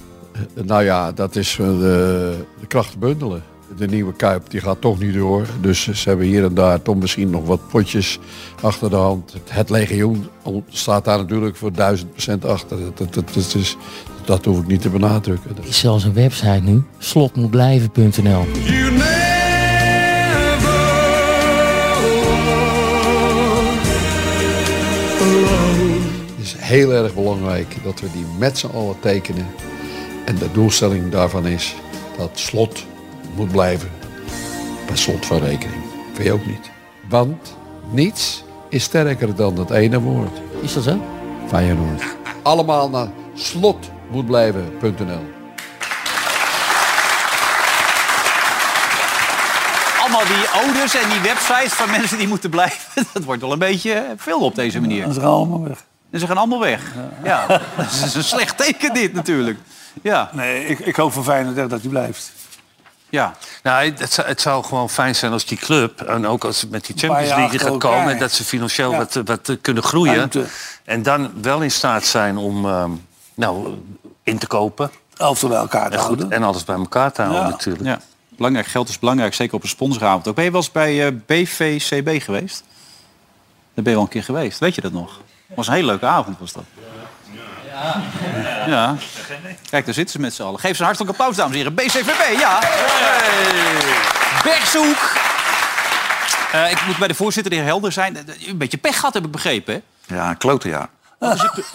S7: Eh, Nou ja, dat is eh, de, de krachten bundelen. De nieuwe Kuip die gaat toch niet door. Dus ze hebben hier en daar toch misschien nog wat potjes achter de hand. Het- Het legioen staat daar natuurlijk voor 1000% achter. Dat, dat, dat, dat is, dat hoef ik niet te benadrukken.
S6: Er is zelfs een website nu. Slotmoetblijven.nl
S7: Het is dus heel erg belangrijk dat we die met z'n allen tekenen. En de doelstelling daarvan is dat slot moet blijven. Per slot van rekening. Vind je ook niet. Want niets is sterker dan dat ene woord.
S6: Is dat zo?
S7: Feyenoord. Allemaal naar slotmoetblijven.nl
S1: Allemaal die ouders en die websites van mensen die moeten blijven. Dat wordt wel een beetje veel op deze manier.
S2: Dan is er allemaal weg.
S1: En ze gaan allemaal weg. Ja, dat is een slecht teken dit natuurlijk. Ja,
S2: Nee, ik, ik hoop voor Feyenoord echt dat hij blijft.
S1: ja.
S3: Nou, het, zou- het zou gewoon fijn zijn als die club, en ook als het met die
S2: paar
S3: Champions
S2: jaar
S3: League
S2: achter
S3: gaat
S2: elkaar.
S3: komen, en dat ze financieel
S2: Ja.
S3: wat, wat eh, kunnen groeien.
S2: Ruimte.
S3: En dan wel in staat zijn om ehm, nou, in te kopen.
S2: Elftal bij elkaar te
S3: En, goed,
S2: houden.
S3: en alles bij elkaar te houden
S2: Ja.
S3: natuurlijk.
S1: ja. Belangrijk, geld is belangrijk, zeker op een sponsoravond. Ook ben je wel eens bij eh, BVCB geweest? Daar ben je wel een keer geweest, weet je dat nog? was een hele leuke avond, was dat. Ja. Kijk, daar zitten ze met z'n allen. Geef ze een hartelijk applaus, dames en heren. BCVB, ja. Hey. Bergzoek. Eh, ik moet bij de voorzitter, de heer Helder, zijn. Eh, Een beetje pech gehad, heb ik begrepen. hè?
S8: Ja, een klotenjaar.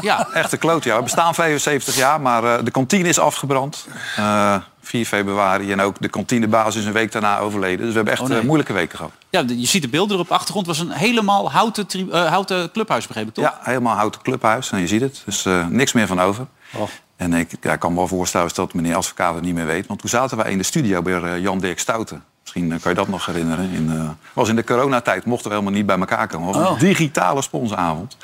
S1: Ja,
S8: Echt een klotenjaar. We bestaan 75 jaar, maar eh, de kantine is afgebrand. Eh, 4 februari. En ook de kantinebaas is een week daarna overleden. Dus we hebben echt
S1: Oh, nee.
S8: eh, moeilijke weken gehad.
S1: Ja, de- je ziet de beelden er op de achtergrond. was een helemaal houten, tri- eh, houten clubhuis, begreep ik toch?
S8: Ja, helemaal houten clubhuis. En je ziet het. Dus eh, niks meer van over.
S1: Oh.
S8: En ik ja, ik kan me wel voorstellen dat meneer advocaat het niet meer weet. Want toen zaten wij in de studio bij eh, Jan Dirk Stouten. Misschien eh, kan je dat nog herinneren. In, eh, was in de coronatijd mochten we helemaal niet bij elkaar komen. Het was
S1: Oh.
S8: een digitale sponsoravond.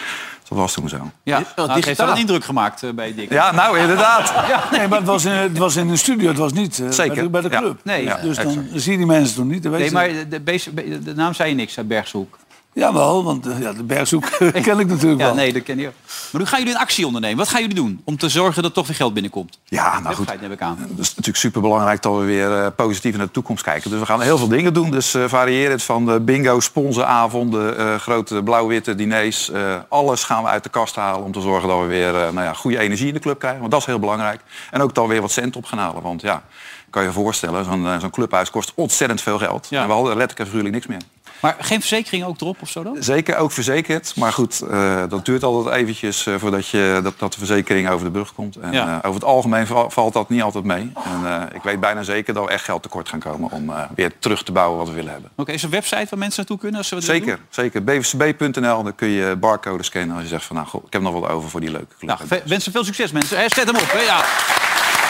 S8: Dat was toen zo.
S1: Ja, nou, het heeft wel een indruk gemaakt eh, bij Dick.
S8: Ja, nou inderdaad. Ja.
S2: Nee, maar het was, in, het was in een studio, het was niet eh,
S8: Zeker,
S2: Bij, de, bij de
S8: ja.
S2: club.
S1: Nee,
S2: Dus-
S1: ja,
S2: dus dan
S8: exact.
S2: zie je die mensen toch niet. Dan
S1: Nee,
S2: weten
S1: maar
S2: ze-
S1: de, beest- be- de naam zei je niks, zei Bergshoek.
S2: Jawel, want eh, ja, de bergzoek ken ik natuurlijk
S1: Ja,
S2: wel.
S1: nee, dat ken je. Maar nu gaan jullie een actie ondernemen. Wat gaan jullie doen om te zorgen dat toch weer geld binnenkomt?
S8: ja, nou goed.
S1: Website heb ik aan.
S8: Het is natuurlijk superbelangrijk dat we weer eh, positief naar de toekomst kijken. Dus we gaan heel veel dingen doen. Dus eh varieer het van eh, bingo, sponsoravonden, eh, grote blauw-witte diners. eh, alles gaan we uit de kast halen om te zorgen dat we weer eh, nou ja, goede energie in de club krijgen. Want dat is heel belangrijk. En ook dan weer wat cent op gaan halen. Want ja, kan je je voorstellen, zo'n eh, zo'n clubhuis kost ontzettend veel geld.
S1: Ja.
S8: En we hadden letterlijk en figuurlijk niks meer.
S1: Maar geen verzekering ook erop of zo dan?
S8: Zeker ook verzekerd. Maar goed, eh, dat duurt altijd eventjes eh, voordat je, dat, dat de verzekering over de brug komt. En,
S1: Ja.
S8: eh, over het algemeen va- valt dat niet altijd mee. En eh, ik weet bijna zeker dat we echt geld tekort gaan komen om eh, weer terug te bouwen wat we willen hebben.
S1: Oké, is er een website waar mensen naartoe kunnen als ze wat willen
S8: Zeker, zeker. bvcb.nl, daar kun je barcode scannen als je zegt van nou, goh, ik heb nog wat over voor die leuke
S1: doen?
S8: club.
S1: Nou, ve- wensen veel succes mensen. Hè, Zet hem op. Hè? Ja.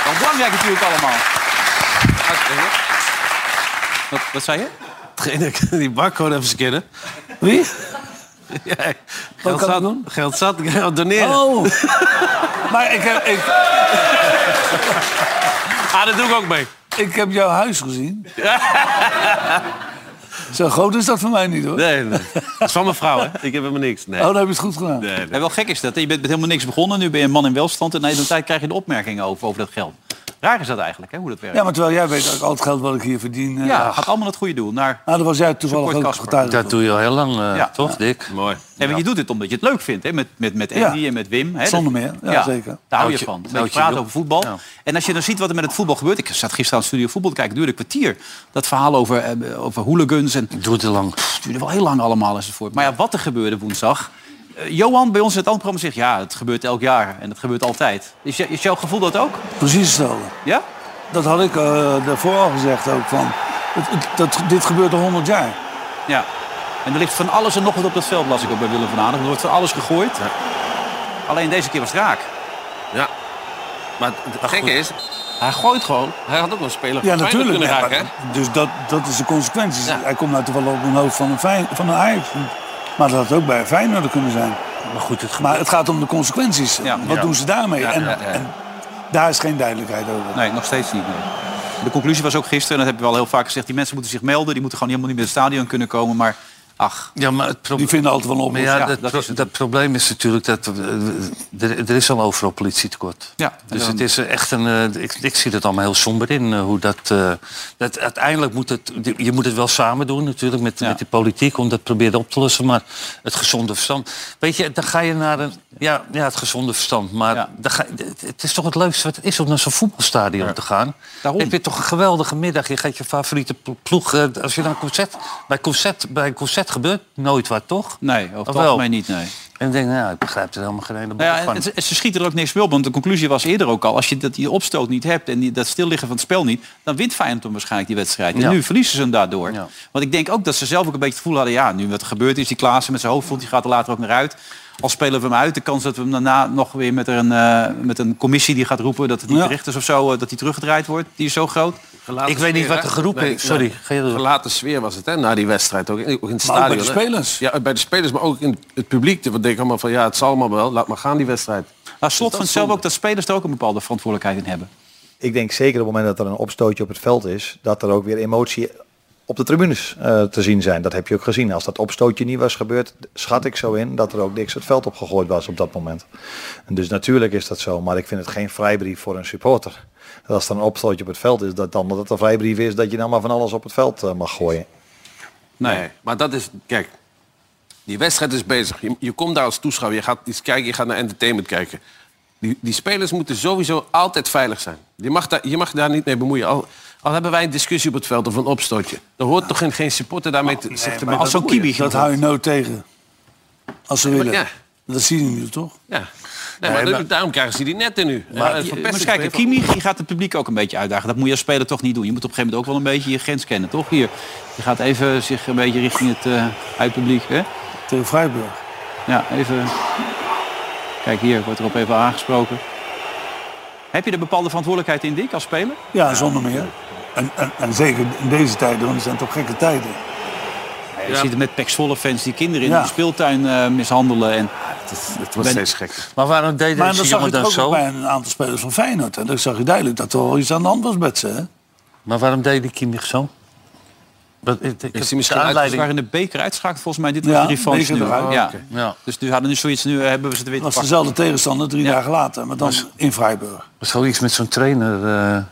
S1: Wel belangrijk natuurlijk allemaal. Hartstikke goed. Wat, wat zei je?
S4: Degene die barcode even scannen.
S2: Wie?
S4: Ja, geld
S2: kan ik
S4: zat,
S2: doen?
S4: geld zat, geld doneren.
S2: Oh!
S4: Oh.
S2: maar ik heb, ik,
S4: Ah, dat doe ik ook mee.
S2: ik heb jouw huis gezien. Zo groot is dat voor mij niet hoor.
S4: Nee, nee. Dat is van mijn vrouw, hè? Ik heb helemaal niks. Nee.
S2: Oh, dan heb je het goed gedaan.
S4: nee, nee.
S1: Ja, wel gek is dat. hè? Je bent met helemaal niks begonnen. Nu ben je een man in welstand. En na de tijd krijg je de opmerkingen over, over dat geld. Raar is dat eigenlijk, hè, hoe dat werkt.
S2: Ja, maar terwijl jij weet dat ik al het geld wat ik hier verdien... eh,
S1: Ja, gaat allemaal het goede doel. Naar...
S2: Nou, dat was jij toevallig
S1: Support
S2: ook
S1: Casper.
S2: getuige.
S3: Dat doe je al heel lang, eh,
S1: Ja.
S3: toch, Dick?
S4: Mooi.
S1: Nee, want je doet dit omdat je het leuk vindt, hè? Met, met, met Andy
S2: Ja.
S1: en met Wim. Hè?
S2: Zonder
S1: Dat-
S2: meer. Ja, zeker.
S1: Daar hou je
S4: Houd je-
S1: van. Een beetje
S4: houd je
S1: praten
S4: wil.
S1: over voetbal.
S4: Ja.
S1: En als je dan ziet wat er met het voetbal gebeurt. Ik zat gisteren aan het studio voetbal te kijken. Duurde een kwartier. Dat verhaal over, eh, over hooligans. En
S3: Ik doe het te lang.
S1: het duurde wel heel lang allemaal enzovoort. Maar ja, wat er gebeurde woensdag. eh, Johan bij ons in het programma zegt... Ja, het gebeurt elk jaar. En het gebeurt altijd. Is, je- is jouw gevoel dat ook?
S2: Precies hetzelfde.
S1: Ja?
S2: Dat had ik eh, daarvoor al gezegd ook. Van, het, het- dat, dit gebeurt al 100 jaar.
S1: Ja. En er ligt van alles en nog wat op dat veld, las ik ook bij Willem van Aanen. Er wordt van alles gegooid. Alleen deze keer was het raak.
S4: Ja. Maar het gekke is, hij gooit gewoon. Hij had ook een speler
S2: Ja,
S4: van Feyenoord
S2: natuurlijk.
S4: kunnen
S2: Ja,
S4: raken, hè?
S2: maar- dus dat, dat is de consequenties. Hij komt nou toevallig op een hoofd van een, Fijn- van een Ajax. Maar dat had ook bij Feyenoord kunnen zijn. Maar goed, het, maar het gaat om de consequenties.
S1: Ja.
S2: Wat
S1: Ja.
S2: doen ze daarmee? en,
S4: ja, ja.
S2: en daar is geen duidelijkheid over.
S1: Nee, nog steeds niet. nee. De conclusie was ook gisteren, en dat heb je wel heel vaak gezegd... die mensen moeten zich melden, die moeten gewoon helemaal niet meer het stadion kunnen komen. Maar ach,
S3: Ja, maar het probleem...
S2: Die vinden altijd wel een
S3: Maar
S2: oplossing.
S3: ja,
S1: Ja,
S3: dat,
S1: dat
S3: pro-
S1: is het.
S3: dat probleem is natuurlijk dat eh, er, er is al overal politietekort.
S1: Ja, en
S3: dus
S1: dan-
S3: het is echt een. eh, ik, ik zie dat allemaal heel somber in. eh, hoe dat, eh, dat uiteindelijk moet het. Je moet het wel samen doen natuurlijk met,
S1: Ja.
S3: met de politiek om dat proberen op te lossen. Maar het gezonde verstand. Weet je, dan ga je naar een. Ja, ja het gezonde verstand. Maar
S1: Ja.
S3: dan ga, je- het- het is toch het leukste wat het is om naar zo'n voetbalstadion te gaan.
S1: Daarom.
S3: Heb je toch een geweldige middag. Je gaat je favoriete plo- ploeg. eh, als je dan een concert. Bij, concert, bij een concert gebeurt nooit wat, toch?
S1: nee, over
S3: Of
S1: het
S3: wel?
S1: algemeen niet, nee.
S3: En ik denk, nou, ik begrijp er helemaal geen ene bal
S1: Nou ja,
S3: van.
S1: en het- ze schieten er ook niks meer op, want de conclusie was eerder ook al... als je dat, die opstoot niet hebt en die, dat stilliggen van het spel niet... dan wint Feyenoord hem waarschijnlijk die wedstrijd. En
S3: Ja.
S1: nu verliezen ze hem daardoor.
S3: Ja.
S1: Want ik denk ook dat ze zelf ook een beetje het gevoel hadden... ja, nu wat er gebeurd is, die Klaassen met zijn hoofdvond... die gaat er later ook naar uit. Al spelen we hem uit, de kans dat we hem daarna nog weer met een, eh, met een commissie... die gaat roepen dat het niet
S2: Ja.
S1: terecht is of zo... eh, dat hij teruggedraaid wordt, die is zo groot.
S4: Gelaten
S3: Ik weet niet wat
S4: hè?
S3: er geroepen is. Sorry, ga je door.
S4: Gelaten sfeer was het, hè, na die wedstrijd. Ook in, ook in het
S2: Maar ook bij
S4: stadion. hè?
S2: de spelers.
S4: Ja, bij de spelers, maar ook in het publiek. Want denk allemaal van, ja, het zal allemaal wel. Laat maar gaan, die wedstrijd.
S1: Nou, slot van zelf ook dat spelers er ook een bepaalde verantwoordelijkheid in hebben.
S9: ik denk zeker op het moment dat er een opstootje op het veld is, dat er ook weer emotie op de tribunes eh, te zien zijn. Dat heb je ook gezien. Als dat opstootje niet was gebeurd, schat ik zo in dat er ook niks het veld opgegooid was op dat moment. En dus natuurlijk is dat zo, maar ik vind het geen vrijbrief voor een supporter. Dat als er een opstootje op het veld is, dat dan dat het een vrijbrief is dat je dan maar van alles op het veld eh, mag gooien.
S4: Nee. maar dat is... Kijk, die wedstrijd is bezig. Je, je komt daar als toeschouwer. Je gaat iets kijken, je gaat naar entertainment kijken. Die, die spelers moeten sowieso altijd veilig zijn. Je mag, daar, je mag daar niet mee bemoeien. Al, al hebben wij een discussie op het veld of een opstootje. Dan hoort toch geen, Oh, geen supporter daarmee te, zich te
S2: Maar
S4: mee
S2: als
S4: te
S2: zo'n
S4: bemoeien?
S2: kibi, dat hou je nooit tegen. Als ze willen.
S4: Ja,
S2: Dat zie je nu toch?
S4: Ja. Nee, maar, daarom krijgen ze die netten nu. Eh, Maar,
S1: Je- Maar eens kijken, Kimmich je gaat het publiek ook een beetje uitdagen. Dat moet je als speler toch niet doen. Je moet op een gegeven moment ook wel een beetje je grens kennen, toch? Hier, je gaat even zich een beetje richting het eh uitpubliek. Hè?
S2: Tegen Freiburg.
S1: Ja, even... Kijk, hier wordt erop even aangesproken. Heb je er bepaalde verantwoordelijkheid in, Dick, als speler?
S2: Ja, zonder meer. En, en, en zeker in deze tijden, want het zijn toch gekke tijden.
S1: Je zit er met Pek Zwolle fans die kinderen in
S2: Ja.
S1: de speeltuin eh, mishandelen. En
S4: Het wordt
S1: Ben-
S4: steeds gek.
S3: Maar waarom deed
S2: Maar
S3: deze
S2: dat zag je
S3: jongen dan
S2: toch ook
S3: zo?
S2: bij een aantal spelers van Feyenoord. En dan zag je duidelijk dat er wel iets aan de hand was met ze. Hè?
S3: Maar waarom deed die Kimmich zo? Dat, ik, ik,
S4: zie misschien
S1: ze
S3: aanleiding.
S1: waren in de beker uitschakeld volgens mij. Dit was
S2: Ja,
S1: de revanche
S2: beker
S1: nu.
S2: eruit.
S1: ja.
S3: Ja.
S1: Dus nu hadden nu zoiets, nu eh, hebben we ze er weer
S2: Het
S1: te
S2: was
S1: pakken.
S2: dezelfde tegenstander drie dagen later, maar dan in Freiburg.
S3: Zoiets met zo'n trainer. eh,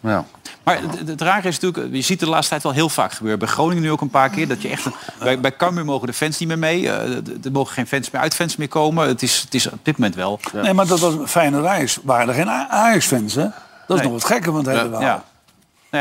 S3: ja.
S1: Maar het- het, het rare is natuurlijk, eh, je ziet het de laatste tijd wel heel vaak gebeuren. Bij Groningen nu ook een paar keer. Dat je echt, een- bij, bij Cambuur mogen de fans niet meer mee. eh, d- d- Er mogen geen fans meer uitfans meer komen. Het is, het is op dit moment wel. Ja.
S2: Nee, maar dat was Feyenoord Ajax. Waren er geen A- Ajax-fans, hè? Dat is
S1: Nee.
S2: nog wat gekker, want hebben we al.
S1: Nou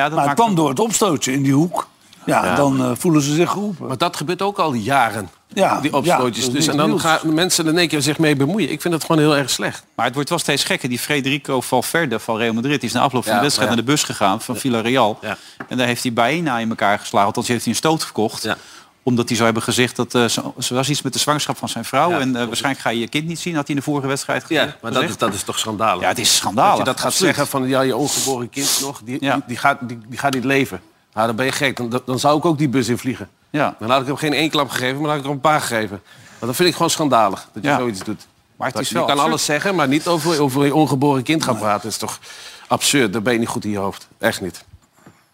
S1: ja, dat
S2: Maar het
S1: maakt
S2: kwam door het opstootje in die hoek. Ja, dan eh, voelen ze zich geroepen.
S4: Maar dat gebeurt ook al jaren.
S2: Ja,
S4: die
S2: ja, dat
S4: opstootjes.
S2: is
S4: dus, en
S2: niks
S4: dan
S2: nieuws.
S4: gaan mensen er in één keer zich mee bemoeien. Ik vind dat gewoon heel erg slecht.
S1: Maar het wordt wel steeds gekker. Die Federico Valverde van Real Madrid die is na afloop van de
S4: Ja,
S1: wedstrijd
S4: ja.
S1: naar de bus gegaan van Villarreal.
S4: Ja.
S1: En daar heeft hij bijna in elkaar geslagen. Althans, heeft hij een stoot gekocht.
S4: Ja.
S1: Omdat hij zou hebben gezegd dat eh, ze, ze was iets met de zwangerschap van zijn vrouw.
S4: Ja,
S1: en eh,
S4: klopt.
S1: waarschijnlijk ga je je kind niet zien, had hij in de vorige wedstrijd gezegd.
S4: Ja, maar dat is, dat is toch schandalig.
S1: ja, het is
S4: dat
S1: schandalig.
S4: je dat gaat
S1: absoluut.
S4: zeggen van ja, je ongeboren kind nog, die,
S1: Ja.
S4: die, die gaat, die, die gaat niet leven. Nou, dan ben je gek. Dan, dan- dan zou ik ook die bus in vliegen.
S1: Ja.
S4: Dan had ik hem geen één klap gegeven, maar dan had ik hem een paar gegeven. Want dat vind ik gewoon schandalig dat je
S1: Ja.
S4: zoiets doet.
S1: Maar het
S4: Dat
S1: is
S4: je
S1: wel
S4: kan
S1: absurd.
S4: alles zeggen, maar niet over, over je ongeboren kind gaan praten. Dat is toch absurd. Daar ben je niet goed in je hoofd. Echt niet.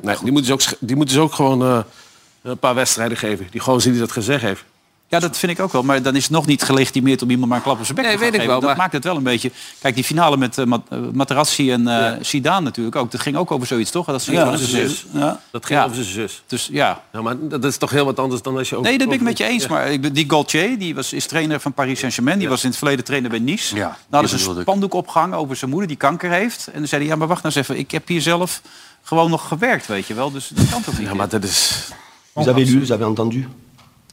S4: Nee, die moeten dus ook, sch- die moeten dus ook gewoon eh, een paar wedstrijden geven. Die gozer die dat gezegd heeft.
S1: Ja, dat vind ik ook wel. Maar dan is het nog niet gelegitimeerd om iemand maar een klap op zijn bek
S4: Nee,
S1: te gaan
S4: weet ik
S1: geven.
S4: wel,
S1: Dat
S4: maar-
S1: maakt het wel een beetje... Kijk, die finale met eh, Mat- eh, Materazzi en eh Zidane natuurlijk ook. Dat ging ook over zoiets, toch? Dat ze
S2: Ja,
S1: dat
S2: dus-
S1: ze-
S2: ja.
S4: Dat ging
S1: Ja.
S4: over zijn zus.
S1: Dus ja,
S4: Ja, maar dat is toch heel wat anders dan als je ook...
S1: Nee, dat ben ik
S4: over-
S1: met je eens. Maar ik ben- die Gaultier, die was, is trainer van Paris Saint-Germain. Die was in het verleden trainer bij Nice.
S3: Ja,
S1: nou,
S3: die
S1: hadden ze
S3: bedoelde
S1: een
S3: ik.
S1: spandoek opgehangen over zijn moeder die kanker heeft. En dan zei hij, ja, maar wacht nou eens even. Ik heb hier zelf gewoon nog gewerkt, weet je wel. Dus dat kan toch niet?
S4: Ja, maar dat is...
S5: Vous avez lu, vous avez entendu.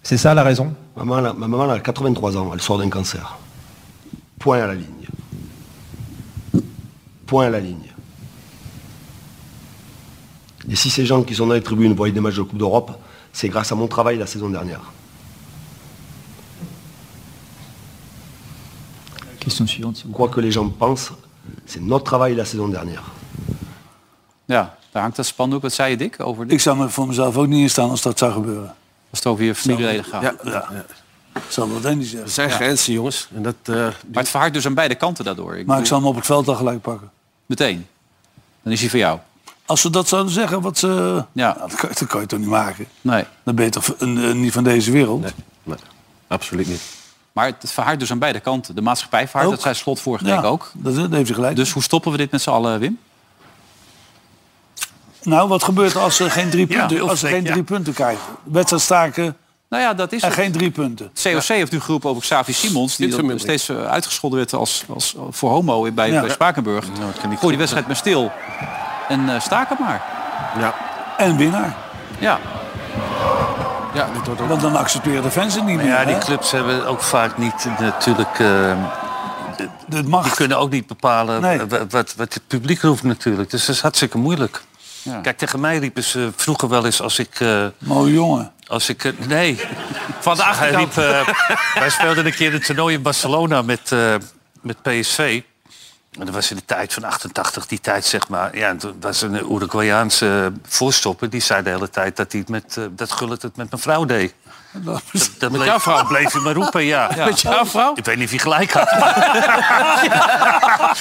S10: C'est ça la raison
S5: Ma maman, elle- ma maman, elle a 83 ans, elle sort d'un cancer. Point à la ligne. Point à la ligne. Et si ces gens qui sont dans les tribunes voient des matchs de Coupe d'Europe, c'est grâce à mon travail la saison dernière.
S10: Question suivante, s'il vous
S5: Quoi que les gens pensent, c'est notre travail la saison dernière.
S1: Ja, daar hangt dat spandoek. Wat zei je, Dick, over dit?
S2: Ik zou me voor mezelf ook niet instaan als dat zou gebeuren.
S1: Als het over je familieleden gaat.
S4: Ja,
S2: Ik zal dat ook niet
S4: Er
S2: zeggen.
S4: zijn grenzen, jongens. En dat, eh,
S1: Maar het verhardt dus aan beide kanten daardoor. Ik
S2: Maar ik
S1: bedoel,
S2: zal hem op het veld al gelijk pakken.
S1: Meteen. Dan is hij voor jou.
S2: Als ze dat zouden zeggen, wat ze...
S1: Ja.
S2: Nou, dat, kan, dat kan je toch niet maken?
S1: Nee.
S2: Dan ben je toch eh, eh, niet van deze wereld?
S4: nee, absoluut niet.
S1: Maar het verhardt dus aan beide kanten. De maatschappij verhardt,
S2: Ook.
S1: dat zei Slot vorige
S2: Ja,
S1: week ook.
S2: Dat, dat heeft hij gelijk.
S1: Dus hoe stoppen we dit met z'n allen, Wim?
S2: Nou, wat gebeurt er als ze geen drie
S1: Ja,
S2: punten,
S1: heel
S2: als ze
S1: sterk,
S2: geen
S1: ja.
S2: drie punten krijgen? Wedstrijd staken
S1: Nou ja, dat is
S2: en
S1: het.
S2: geen drie punten.
S1: COC heeft nu geroepen over Xavi Simons, die dan
S4: Dit verminder
S1: steeds eh, uitgescholden werd als, als voor homo bij,
S2: Ja.
S1: bij Spakenburg. Gooi die wedstrijd maar stil. En eh, staak het maar.
S4: Ja,
S2: En winnaar.
S1: Ja,
S4: ja dit wordt ook...
S2: Want dan accepteren de fans het niet meer.
S3: ja, die
S2: hè?
S3: clubs hebben ook vaak niet eh, natuurlijk... eh,
S2: Dat mag.
S3: Die kunnen ook niet bepalen
S2: Nee.
S3: wa- wa- wat, wat het publiek roept natuurlijk. Dus dat is hartstikke moeilijk.
S1: Ja.
S3: Kijk, tegen mij riepen ze vroeger wel eens als ik... eh,
S2: Mooie jongen.
S3: als ik eh, nee. Vandaag hij riep, eh, Wij speelden een keer een toernooi in Barcelona met, eh, met PSV. En dat was in de tijd van 88, die tijd zeg maar. Ja, en toen was een Uruguayaanse voorstopper. Die zei de hele tijd dat hij het met... eh, dat Gullit het met mijn vrouw deed. Dat, dat bleef,
S1: jouw vrouw?
S3: dat bleef hij maar roepen, ja.
S1: Met jouw vrouw?
S3: Ik weet niet of hij gelijk had.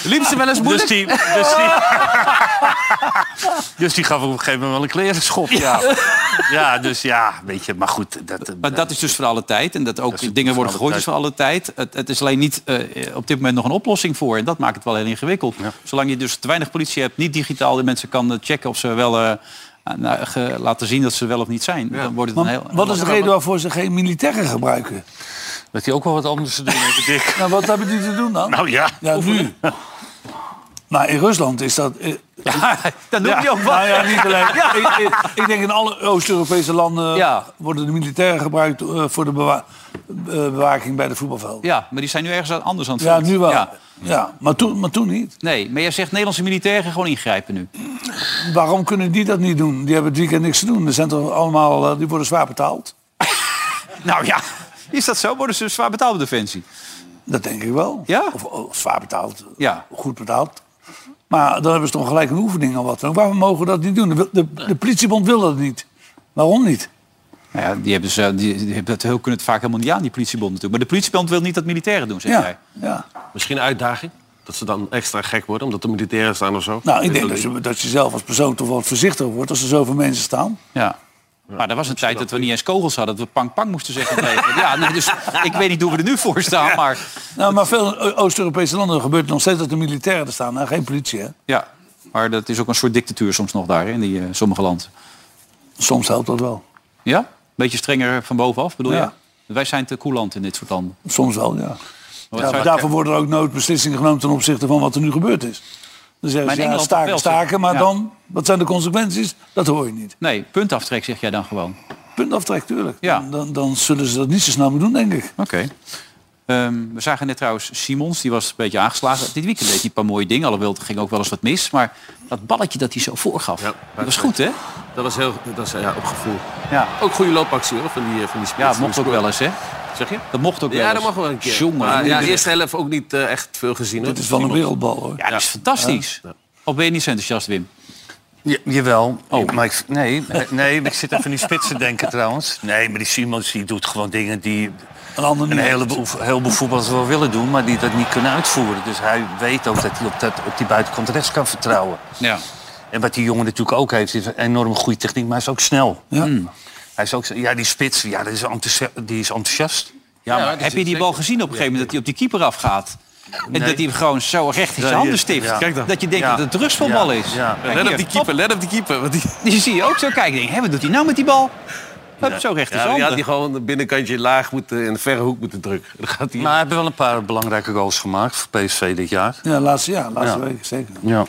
S1: Liep ze wel eens moeilijk?
S3: Dus die, dus, die, dus die gaf op een gegeven moment wel een klerenschop. Ja, ja dus ja, weet je, maar goed. Dat, eh,
S1: maar dat is dus voor alle tijd. En dat ook
S3: is
S1: dingen
S3: voor
S1: worden
S3: alle
S1: gegooid is
S3: tijd.
S1: voor alle tijd. Het, het is alleen niet eh, op dit moment nog een oplossing voor. En dat maakt het wel heel ingewikkeld. Zolang je dus te weinig politie hebt, niet digitaal. De mensen kan eh, checken of ze wel... eh, aan- nou, ge- laten zien dat ze wel of niet zijn. Dan wordt het een
S2: Maar
S1: heel...
S2: wat is de reden waarvoor ze geen militairen gebruiken?
S3: dat hij ook wel wat anders te doen heeft, Dick.
S2: Nou, wat hebben die te doen dan?
S3: Nou ja.
S2: Ja, nu. Maar in Rusland is dat... eh,
S1: dat noem je ook wat.
S2: nou ja, niet alleen. ik, ik, ik denk in alle Oost-Europese landen
S1: Ja.
S2: worden de militairen gebruikt eh, voor de bewa- eh, bewaking bij de voetbalvelden.
S1: Ja, maar die zijn nu ergens aan- anders aan het
S2: Ja,
S1: veld.
S2: nu wel. Ja.
S1: Ja.
S2: Maar, toen, maar toen niet.
S1: Nee, maar jij zegt Nederlandse militairen gewoon ingrijpen nu.
S2: Waarom kunnen die dat niet doen? Die hebben het weekend niks te doen. Er zijn toch allemaal, eh, die worden zwaar betaald.
S1: Nou ja, is dat zo? Worden ze zwaar betaald op defensie?
S2: Dat denk ik wel.
S1: Ja?
S2: Of, of zwaar betaald. eh,
S1: Ja.
S2: Goed betaald. Maar dan hebben ze toch gelijk een oefening of wat dan ook. Waarom mogen we dat niet doen? De, de, de politiebond wil dat niet. Waarom niet?
S1: Nou ja, die hebben ze, die, die hebben dat heel kunnen het vaak helemaal niet aan, die politiebond natuurlijk. Maar de politiebond wil niet dat militairen doen, zeg jij.
S2: Ja. ja.
S4: Misschien een uitdaging? Dat ze dan extra gek worden, omdat de militairen staan of zo?
S2: Nou, ik denk dat je, dat je zelf als persoon toch wat voorzichtiger wordt als er zoveel mensen staan.
S1: Ja. Maar er was een tijd dat we niet eens kogels hadden, dat we pang-pang moesten zeggen. tegen. Ja, nee, dus ik weet niet hoe we er nu voor staan, maar
S2: Nou, maar veel O- Oost-Europese landen gebeurt het nog steeds dat de militairen er staan. Nou, geen politie, hè?
S1: ja. Maar dat is ook een soort dictatuur soms nog daar hè, in die eh, sommige landen.
S2: Soms helpt dat wel.
S1: Ja? Beetje strenger van bovenaf, bedoel
S2: Ja.
S1: je? Wij zijn te coulant in dit soort landen.
S2: Soms wel, ja.
S1: Wat
S2: Ja,
S1: zou-
S2: daarvoor worden er ook nooit beslissingen genomen ten opzichte van wat er nu gebeurd is. Dan zeggen
S1: Maar
S2: ze,
S1: in
S2: ja,
S1: Engeland
S2: staken,
S1: wel,
S2: staken, maar
S1: ja.
S2: dan, wat zijn de consequenties? Dat hoor je niet.
S1: Nee, puntaftrek zeg jij dan gewoon.
S2: Puntaftrek, tuurlijk.
S1: Ja.
S2: Dan, dan, dan zullen ze dat niet zo snel meer doen, denk ik.
S1: Oké. Ehm, we zagen net trouwens Simons, die was een beetje aangeslagen. Dit weekend deed hij een paar mooie dingen, alhoewel er ging ook wel eens wat mis. Maar dat balletje dat hij zo voorgaf,
S4: Ja,
S1: dat was goed hè?
S4: Dat was heel, dat is, ja, op gevoel.
S1: Ja,
S4: Ook goede loopactie hoor, van die, eh, van die spits.
S1: ja dat mocht ook
S4: Die scoorde.
S1: wel eens hè?
S4: Zeg je?
S1: Dat mocht ook wel
S4: Ja,
S1: eens.
S4: dat mag wel een keer.
S1: Jongen,
S4: Maar ja,
S1: ja,
S4: de eerste helft ook niet eh, echt veel gezien.
S2: Dit is wel een wereldbal, hoor.
S1: dat is fantastisch. Al ben je niet zo enthousiast, Wim.
S3: Ja, jawel. Oh. Maar ik, nee, eh, nee, maar ik zit even in die spits te denken trouwens. Nee, maar die Simons die doet gewoon dingen die
S2: Een ander
S3: een
S2: niet.
S3: heleboel, heleboel voetballers wel willen doen... maar die dat niet kunnen uitvoeren. Dus hij weet ook dat hij op, dat, op die buitenkant rechts kan vertrouwen.
S1: Ja.
S3: En wat die jongen natuurlijk ook heeft, is een enorm goede techniek, maar hij is ook snel. Hmm.
S2: Ja.
S3: Hij is ook, zo- ja, die spits, ja, die, is enthousiast, die is enthousiast.
S1: Ja, maar
S4: dat is
S1: heb je die
S4: zeker.
S1: bal gezien op een gegeven moment dat hij op die keeper afgaat? En dat hij gewoon zo recht in zijn
S3: Ja,
S1: handen
S3: hier.
S1: stift.
S3: Ja. Kijk
S4: dan.
S1: Dat je denkt
S3: Ja.
S1: dat het rustvoetbal
S3: Ja.
S1: is.
S3: Ja.
S1: Kijk
S4: Let op
S1: hier.
S4: die keeper, let op die keeper. Want die,
S1: Die zie je ook zo kijken. Denk, hè, wat doet hij nou met die bal? Hup, zo recht in zijn
S4: ja, die had
S1: handen.
S4: die gewoon een binnenkantje laag moeten en een verre hoek moeten drukken. Dan gaat hij.
S3: Maar hij heeft wel een paar belangrijke goals gemaakt voor PSV dit jaar.
S2: Ja, laatste jaar, laatste
S3: Ja.
S2: week, zeker.
S3: Ja.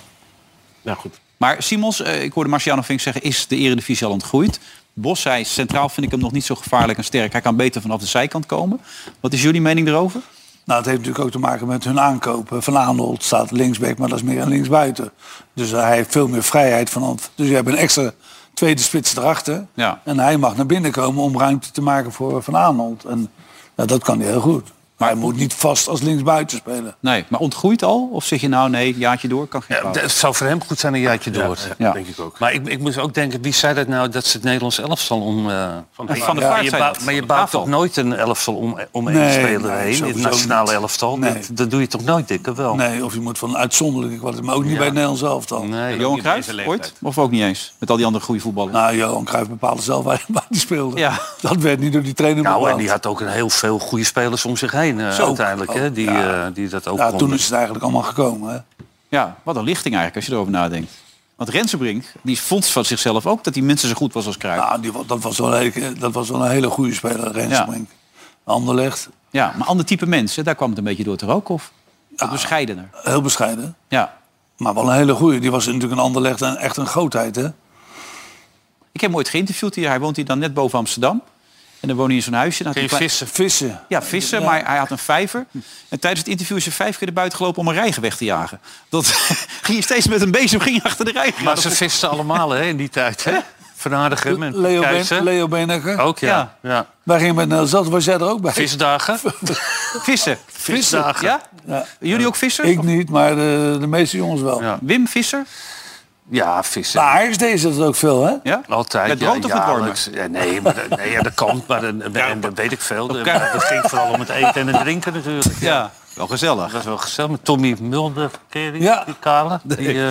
S4: Nou goed.
S1: Maar Simons, eh, ik hoorde Marciano Vink zeggen, is de eredivisie al ontgroeid? Bos zei, centraal vind ik hem nog niet zo gevaarlijk en sterk. Hij kan beter vanaf de zijkant komen. Wat is jullie mening erover?
S2: Nou, het heeft natuurlijk ook te maken met hun aankopen. Van Aanholt staat linksback, maar dat is meer aan linksbuiten. Dus hij heeft veel meer vrijheid van. Dus je hebt een extra tweede spits erachter.
S1: Ja.
S2: En hij mag naar binnen komen om ruimte te maken voor eh, Van Aanholt. En nou, dat kan hij heel goed. Maar hij moet niet vast als linksbuiten spelen.
S1: Nee, maar ontgroeid al? Of zeg je nou, nee, jaartje door, kan geen
S3: Ja,
S1: fout.
S3: dat Eh, zou voor hem goed zijn een jaartje door.
S1: Ja.
S4: Denk ik ook.
S3: Maar ik, ik moest ook denken, wie zei dat nou dat ze het Nederlands elftal om... eh,
S1: En Van der
S3: Ja,
S1: Vaart
S3: je
S1: zei
S3: bouwt-
S1: dat.
S3: maar je
S1: Van der
S3: bouwt
S1: Vaart
S3: toch
S1: al.
S3: nooit een elftal om, om één
S2: Nee,
S3: speler
S2: nee,
S3: heen? Het
S2: sowieso
S3: nationale
S2: niet.
S3: elftal?
S2: Nee.
S3: Dat, dat doe je toch nooit, dikke wel?
S2: Nee, of je moet van een uitzonderlijke kwaliteit, maar ook niet bij het Nederlands elftal.
S3: Nee.
S1: Johan Cruijff, ooit? Of ook niet eens? Met al die andere goede voetballers.
S2: Nou, Johan Cruijff bepaalde zelf waar waar hij speelde.
S1: Ja.
S2: Dat werd niet door die trainer
S3: Nou, en
S2: bepaald.
S3: die had ook een heel veel goede spelers om zich heen eh,
S2: Zo,
S3: uiteindelijk. hè,
S2: ook,
S3: die,
S2: ja.
S3: eh, die dat ook
S2: ja,
S3: konden.
S2: toen is het eigenlijk allemaal gekomen. Hè?
S1: Ja, wat een lichting eigenlijk als je erover nadenkt. Want Rensenbrink, die vond van zichzelf ook dat hij minstens zo goed was als Cruijff.
S2: Nou, die, wa- dat, was wel een, hele- dat was wel een hele goede speler, Rensbrink. Anderlecht,
S1: Ja, maar ander type mensen, daar kwam het een beetje door te roken of? Wat bescheidener.
S2: heel bescheiden.
S1: Ja.
S2: Maar wel een hele goeie. Die was natuurlijk een Anderlecht en echt een grootheid, hè?
S1: Ik heb hem ooit geïnterviewd hier. Hij woont hier dan net boven Amsterdam. En dan woonde hij in zo'n huisje. Dan had hij een klein-
S2: Vissen. Vissen.
S1: Ja, vissen, maar hij had een vijver. En tijdens het interview is hij vijf keer erbuiten gelopen om een reiger weg te jagen. Dat ging je steeds met een bezem ging je achter de reiger.
S3: Maar ze visten allemaal hè, in die tijd. Hè? Van Aardigem en
S2: Leo,
S3: Keizer. Oh.
S2: ben, Leo Beenhakker.
S3: Ook, ja. ja.
S2: Wij gingen met Nederlands Elftal. Was jij er ook bij?
S3: Visdagen.
S1: vissen.
S3: Visdagen.
S1: Ja?
S2: Ja.
S1: Jullie ook visser?
S2: Ik niet, maar de, de meeste jongens wel.
S3: Ja.
S1: Wim Visser?
S3: Ja, vissen.
S2: Maar Ajax deed dat ook veel, hè?
S1: Ja?
S3: Altijd.
S1: Met
S3: ja,
S1: brood of met wormen?
S3: jaarlijks. Ja, nee, maar, dat- nee, ja, dat kan. Maar dat, en dat weet ik veel. Maar Het ging vooral om het eten en het drinken natuurlijk.
S1: Ja. Wel gezellig.
S3: Dat is wel gezellig. Met Tommy Mulder, ken je die,
S2: Ja.
S3: die kale? Die, eh,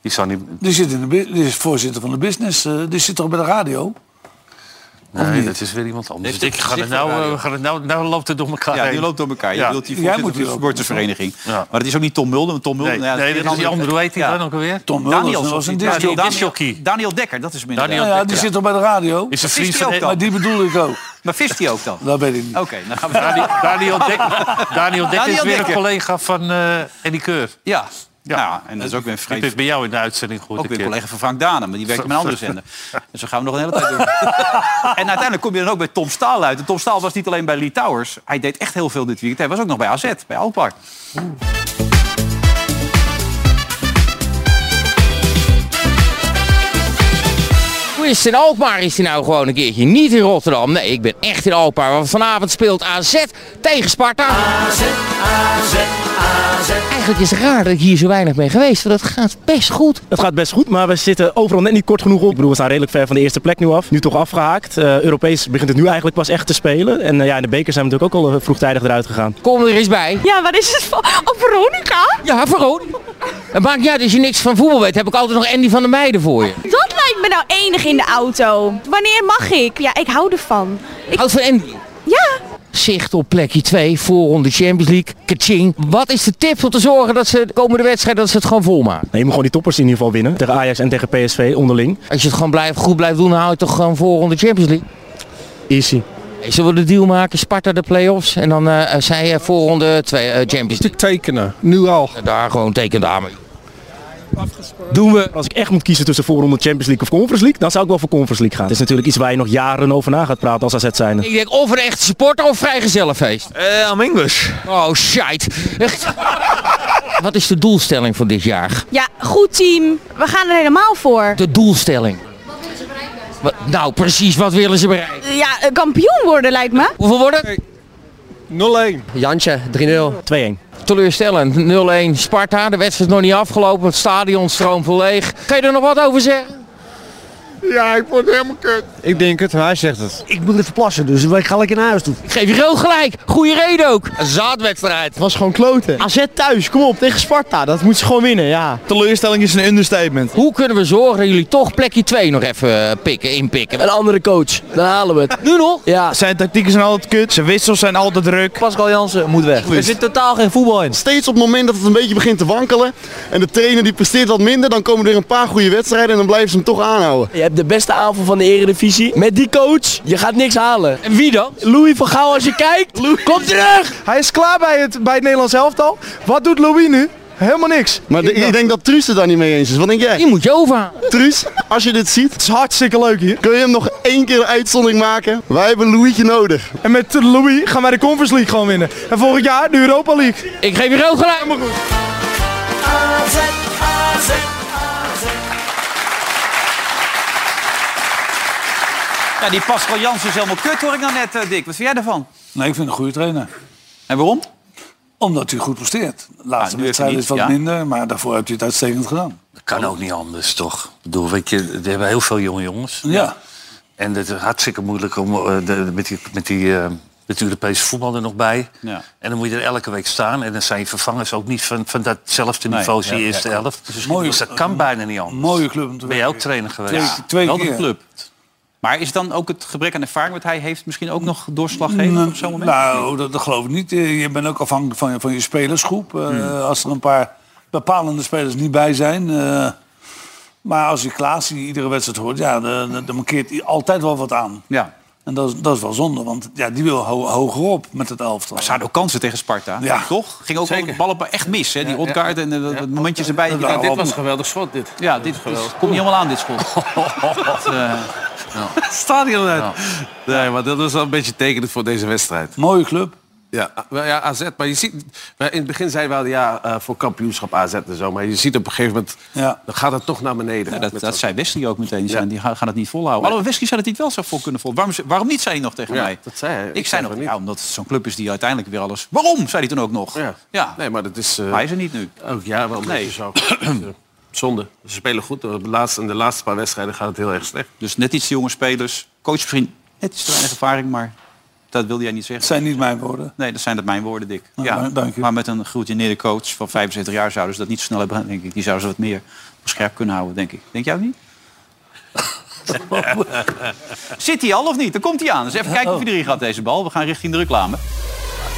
S3: die zou niet...
S2: Die, zit in de, bu- die is voorzitter van de business. eh, die zit toch bij de radio?
S3: Nee, dat is weer iemand anders. Ik ga het nou, eh, we gaan het nou, nou loopt het door elkaar
S1: Ja,
S3: heen.
S1: die loopt door elkaar. Je
S3: Ja.
S1: wilt die
S2: Jij
S1: voorzitter
S2: moet
S1: van de
S2: hier ook.
S1: sportvereniging.
S3: Ja.
S1: Maar het is ook niet Tom Mulder. want Tom Mulder
S3: Nee,
S1: ja,
S3: nee, dat is die andere. Hoe heet die dan ook alweer?
S2: Tom
S1: Daniel
S2: Mulder was een
S1: zoals die-
S2: disc.
S3: Daniel
S1: Daniel-
S3: Disjockey.
S1: Daniel Dekker, dat is hem inderdaad.
S2: Ja, die zit toch bij de radio?
S3: Is een
S1: Vist
S3: vriend
S1: hij ook
S3: van...
S1: dan?
S2: Maar die bedoelde ik ook.
S1: Maar vist hij ook dan? Oké,
S2: Dat weet ik
S3: Oh.
S2: niet.
S1: nou gaan we
S3: Daniel, Daniel Dek Daniel Dek is
S1: Daniel
S3: weer een
S1: Dekker.
S3: collega van eh Eddie Keur.
S1: Ja, Ja, en dat is ook weer
S3: Die heb
S1: vergeten.
S3: ik bij jou in de uitzending gehoord.
S1: Ook weer een
S3: een keer.
S1: collega van Frank Danen, maar die werkt met een andere zender. En zo gaan we nog een hele tijd doen. en uiteindelijk kom je dan ook bij Tom Staal uit. En Tom Staal was niet alleen bij Lee Towers. Hij deed echt heel veel dit weekend. Hij was ook nog bij AZ, bij Alkmaar.
S11: Hoe is het in Alkmaar? Is hij nou gewoon een keertje niet in Rotterdam? Nee, ik ben echt in Alkmaar. Want vanavond speelt AZ tegen Sparta. AZ, AZ, AZ. Eigenlijk is het raar dat ik hier zo weinig ben geweest. Want dat gaat best goed.
S12: Het gaat best goed, maar we zitten overal net niet kort genoeg op. Ik bedoel, we staan redelijk ver van de eerste plek nu af. Nu toch afgehaakt. Eh, Europees begint het nu eigenlijk pas echt te spelen. En eh, ja, in de beker zijn we natuurlijk ook al eh, vroegtijdig eruit gegaan.
S11: Kom er eens bij. Ja, wat is het voor? Oh, Veronica? Ja, Veronica. Het maakt niet uit als je niks van voetbal weet. Heb ik altijd nog Andy van der Meijden voor je.
S13: Dat lijkt me nou enig in de auto. Wanneer mag ik? Ja, ik hou ervan. Ik...
S11: Houdt van Andy?
S13: Ja.
S11: Zicht op plekje 2, voorronde Champions League. Kaching. Wat is de tip om te zorgen dat ze de komende wedstrijd dat ze het gewoon volmaken?
S12: Nee, je moet gewoon die toppers in ieder geval winnen. Tegen Ajax en tegen PSV onderling.
S11: Als je het gewoon blijft, goed blijft doen, dan hou je toch gewoon voorronde Champions League?
S12: Easy.
S11: Hey, Zullen we de deal maken? Sparta de play-offs en dan eh, eh, zij eh, voorronde twee, eh, Champions League.
S12: Tekenen, nu al.
S11: Daar gewoon tekenen aan.
S12: Doen we, als ik echt moet kiezen tussen voorronde Champions League of Conference League, dan zou ik wel voor Conference League gaan. Het is natuurlijk iets waar je nog jaren over na gaat praten als AZ zijnde.
S11: Ik denk of een echte supporter of vrijgezellenfeest.
S12: Eh, I'm English.
S11: Oh, shit. Echt. Wat is de doelstelling van dit jaar?
S13: Ja, goed team. We gaan er helemaal voor.
S11: De doelstelling. Wat, nou, precies, wat willen ze bereiken?
S13: Ja, eh, kampioen worden lijkt me.
S11: Hoeveel worden? 0-1. Jantje, 3-0. 2-1. Teleurstellend, 0-1 Sparta. De wedstrijd is nog niet afgelopen. Het stadion stroomt vol leeg. Kan je er nog wat over zeggen?
S14: Ja, ik word helemaal kut.
S15: Ik denk het, hij zegt het. Ik moet even plassen, dus ik ga lekker naar huis toe.
S11: Ik geef je rood gelijk. Goeie reden ook. Een zaadwedstrijd. Het
S15: was gewoon kloten. AZ thuis, kom op, tegen Sparta. Dat moet ze gewoon winnen, ja. Teleurstelling is een understatement.
S11: Hoe kunnen we zorgen dat jullie toch plekje 2 nog even eh, pikken, inpikken?
S15: Een andere coach, dan halen we het. Nu nog? Ja. Zijn tactieken zijn altijd kut, zijn wissels zijn altijd druk. Pascal Jansen moet weg.
S16: Er zit totaal geen voetbal in. Steeds op het moment dat het een beetje begint te wankelen en de trainer die presteert wat minder, dan komen er weer een paar goede wedstrijden en dan blijven ze hem toch aanhouden.
S15: Je hebt de beste aanval van de Eredivisie. Met die coach, je gaat niks halen. En wie dan? Louis van Gaal als je kijkt. Kom terug! Hij is klaar bij het, bij het Nederlands elftal. Wat doet Louis nu? Helemaal niks.
S16: Maar de- ik denk dat Truus het daar niet mee eens is. Wat denk jij? Die
S11: moet je over.
S16: Truus, als je dit ziet. Het is
S15: hartstikke leuk hier.
S16: Kun je hem nog één keer een uitzondering maken? Wij hebben Louietje nodig.
S15: En met Louis gaan wij de Conference League gewoon winnen. En volgend jaar de Europa League.
S11: Ik geef je rood gelijk. Helemaal
S15: goed.
S1: Ja, die Pascal Jansen is helemaal kut, hoor ik nou net, eh, Dick. Wat vind jij daarvan?
S2: Nee, ik vind hem een goede trainer.
S1: En waarom?
S2: Omdat hij goed presteert. De laatste
S1: nu heeft hij
S2: wedstrijd is wat
S1: niet, ja.
S2: minder, maar daarvoor heeft hij het uitstekend gedaan.
S3: Dat kan ook niet anders, toch? Ik bedoel, weet je, er hebben heel veel jonge jongens.
S2: Ja.
S3: En het is hartstikke moeilijk om eh, de, met die, met die eh, met Europese voetbal er nog bij.
S1: Ja.
S3: En dan moet je er elke week staan. En dan zijn je vervangers ook niet van, van datzelfde
S2: Nee,
S3: niveau als
S2: ja,
S3: je
S2: ja,
S3: eerste
S2: klopt.
S3: elf.
S2: Het is mooi-
S3: dus dat kan bijna niet anders.
S2: Mooie club om te
S3: Ben jij ook trainer geweest?
S2: Twee- twee
S1: wel de
S2: keer.
S1: club. Maar is dan ook het gebrek aan ervaring wat hij heeft misschien ook nog doorslaggevend
S2: Nou,
S1: op zo'n moment?
S2: Nou, dat, dat geloof ik niet. Eh, Je bent ook afhankelijk van, je- van je spelersgroep. Eh, Als er een paar bepalende spelers niet bij zijn. eh, maar als je Klaas die iedere wedstrijd hoort, ja, dan, dan- dan mankeert hij altijd wel wat aan.
S1: Ja.
S2: En dat, is- dat is wel zonde, want ja, die wil ho- hoger op met het elftal.
S1: Ze hadden ook kansen tegen Sparta,
S2: Ja.
S1: toch? Ging ook wel de ballen pa- echt mis, hè? Die
S2: Ja, ja.
S1: rotkaart en de, momentjes erbij.
S2: Ja,
S1: Je denkt,
S2: dit was
S1: een
S4: geweldig schot, dit.
S1: Ja, dit, komt niet helemaal aan, dit schot. Dat, eh,
S4: Stadion uit. Nee, maar dat was wel een beetje tekenend voor deze wedstrijd.
S2: Mooie club.
S4: Ja, a- wel ja, AZ. Maar je ziet, maar in het begin zeiden we al, ja, eh, voor kampioenschap AZ en zo. Maar je ziet op een gegeven moment,
S2: Ja.
S4: dan gaat het toch naar beneden.
S1: Ja, dat, dat zei Wesley ook meteen. Die, zijn, die gaan gaan het niet volhouden. Alhoewel Wesley zei dat hij het wel zou voor kunnen volhouden. Waarom, waarom niet, zei hij nog tegen
S4: Ja,
S1: mij.
S4: dat zei hij.
S1: Ik,
S4: Ik
S1: zei
S4: zei
S1: nog,
S4: van
S1: ja, omdat het zo'n club is die uiteindelijk weer alles... Waarom, zei hij toen ook nog. Ja,
S4: Nee, maar dat is... eh,
S1: hij is er niet nu.
S2: Oh,
S4: Ook ja, wel een
S1: Nee.
S4: beetje zo. Eh, Zonde. Ze spelen goed. De laatste, in de laatste paar wedstrijden gaat het heel erg slecht.
S1: Dus net iets te jonge spelers. Coach misschien net iets te weinig ervaring, maar dat wilde jij niet zeggen.
S2: Dat zijn niet mijn woorden.
S1: Nee, dat zijn dat mijn woorden, Dick.
S2: Nou,
S1: ja,
S2: maar- dank je.
S1: Maar met een geroutineerde coach van 75 jaar zouden ze dat niet zo snel hebben, gedaan, denk ik. Die zouden ze wat meer op scherp kunnen houden, denk ik. Denk jij ook niet? Zit hij al of niet? Dan komt hij aan. Dus even kijken of
S2: Oh.
S1: hij erin gaat, deze bal. We gaan richting de reclame.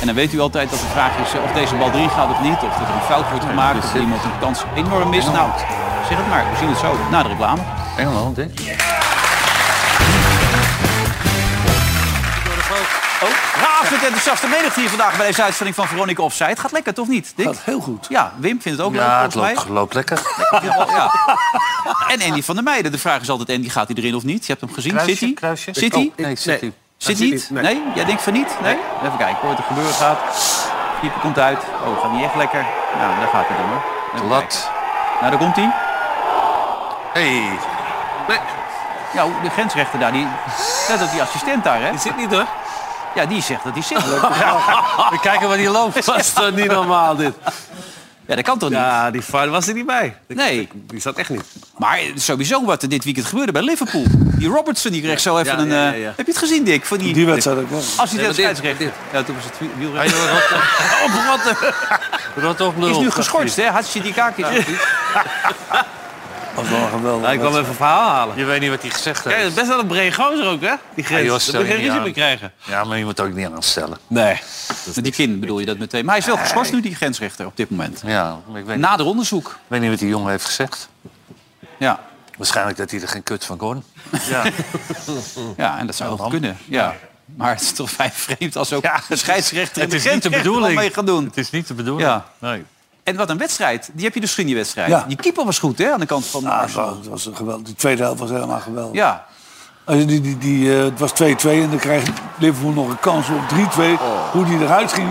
S1: En dan weet u altijd dat de vraag is eh, of deze bal erin gaat of niet. Of dat er een fout wordt
S3: dus
S1: gemaakt. Of dat iemand een kans enorm mist. Nou, zeg het maar. We zien het zo na de reclame.
S3: Engeland, hè?
S1: Oh, raar absoluut enthousiaste menigte hier vandaag bij deze uitzending van Veronica Offside. Gaat lekker, toch niet? Gaat heel goed. Ja, Wim vindt het ook leuk,
S3: Ja, het
S1: volgens mij.
S3: loopt, loopt lekker.
S1: Ja. En Andy van der Meijden. De vraag is altijd, Andy, gaat hij erin of niet? Je hebt hem gezien.
S3: Kruisje,
S1: zit hij?
S3: kruisje.
S1: Zit hij?
S3: Oh, nee, zit hij.
S1: Zit
S3: Nee,
S1: niet?
S3: zit
S1: Nee.
S3: niet.
S1: Jij denkt van niet? Nee? Even kijken hoor, wat er gebeuren gaat. Keeper komt uit. Oh, gaat niet echt lekker. Nou, daar gaat hij dan hoor. Even
S3: Lat.
S1: kijken. Nou, daar komt hij. Hey. Nee. Ja, de grensrechter daar, die... Net als die assistent daar, hè? Die zit niet, hoor. Ja, die zegt dat hij zit.
S4: We kijken waar die loopt. Dat is toch niet normaal dit.
S1: Ja, dat kan toch niet?
S4: Ja, die VAR was er niet bij.
S1: Nee.
S4: Die zat echt niet.
S1: Maar sowieso wat er dit weekend gebeurde bij Liverpool. Die Robertson die kreeg zo even
S4: Ja,
S1: een...
S4: ja, ja,
S1: eh,
S4: ja.
S1: Heb je het gezien, Dick? Van die,
S2: Die wedstrijd ook wel.
S1: Als hij
S4: Nee,
S1: dat
S4: maar dit-
S1: scheidsrechter... Ja, toen was het wie-
S4: Hij
S1: wielrennen.
S4: wil
S1: Op wat?
S4: Rot op
S1: Die is nu
S4: lul.
S1: geschorst, hè? Hatsjidikaki.
S4: was wel geweldig. Hij kwam even verhaal halen. Ah, Je weet niet wat hij gezegd heeft. Ja, best wel een brede gozer ook, hè? Die grens.
S3: joh,
S4: Daar
S3: stel
S4: moet je
S3: je
S4: geen
S3: niet
S4: ruzie
S3: aan.
S4: meer krijgen.
S3: Ja, maar je moet ook niet aanstellen.
S1: Nee. Met die kin bedoel je dat meteen. Maar hij is wel geschorst nu, die grensrechter, op dit moment.
S3: Ja, maar ik weet, niet,
S1: Nader onderzoek.
S3: ik weet niet wat die jongen heeft gezegd.
S1: Ja.
S3: Waarschijnlijk dat hij er geen kut van kon.
S4: Ja.
S1: Ja, en dat zou wel kunnen. Ja. Maar het is toch vrij vreemd als ook de scheidsrechter en
S3: het is niet de
S1: grensrechter wat
S3: bedoeling.
S1: mee gaan doen.
S3: Het is niet de bedoeling.
S1: Ja.
S3: Nee.
S1: En wat een wedstrijd. Die heb je dus gezien, die wedstrijd.
S2: Ja.
S1: Die keeper was goed, hè? Aan de kant van
S2: Ah,
S1: Arsenal.
S2: zo, het was een geweldig. Die tweede helft was helemaal geweldig.
S1: Ja.
S2: Als je die, die, die, eh, het was 2-2 en dan krijgt Liverpool nog een kans op 3-2. Hoe die eruit ging,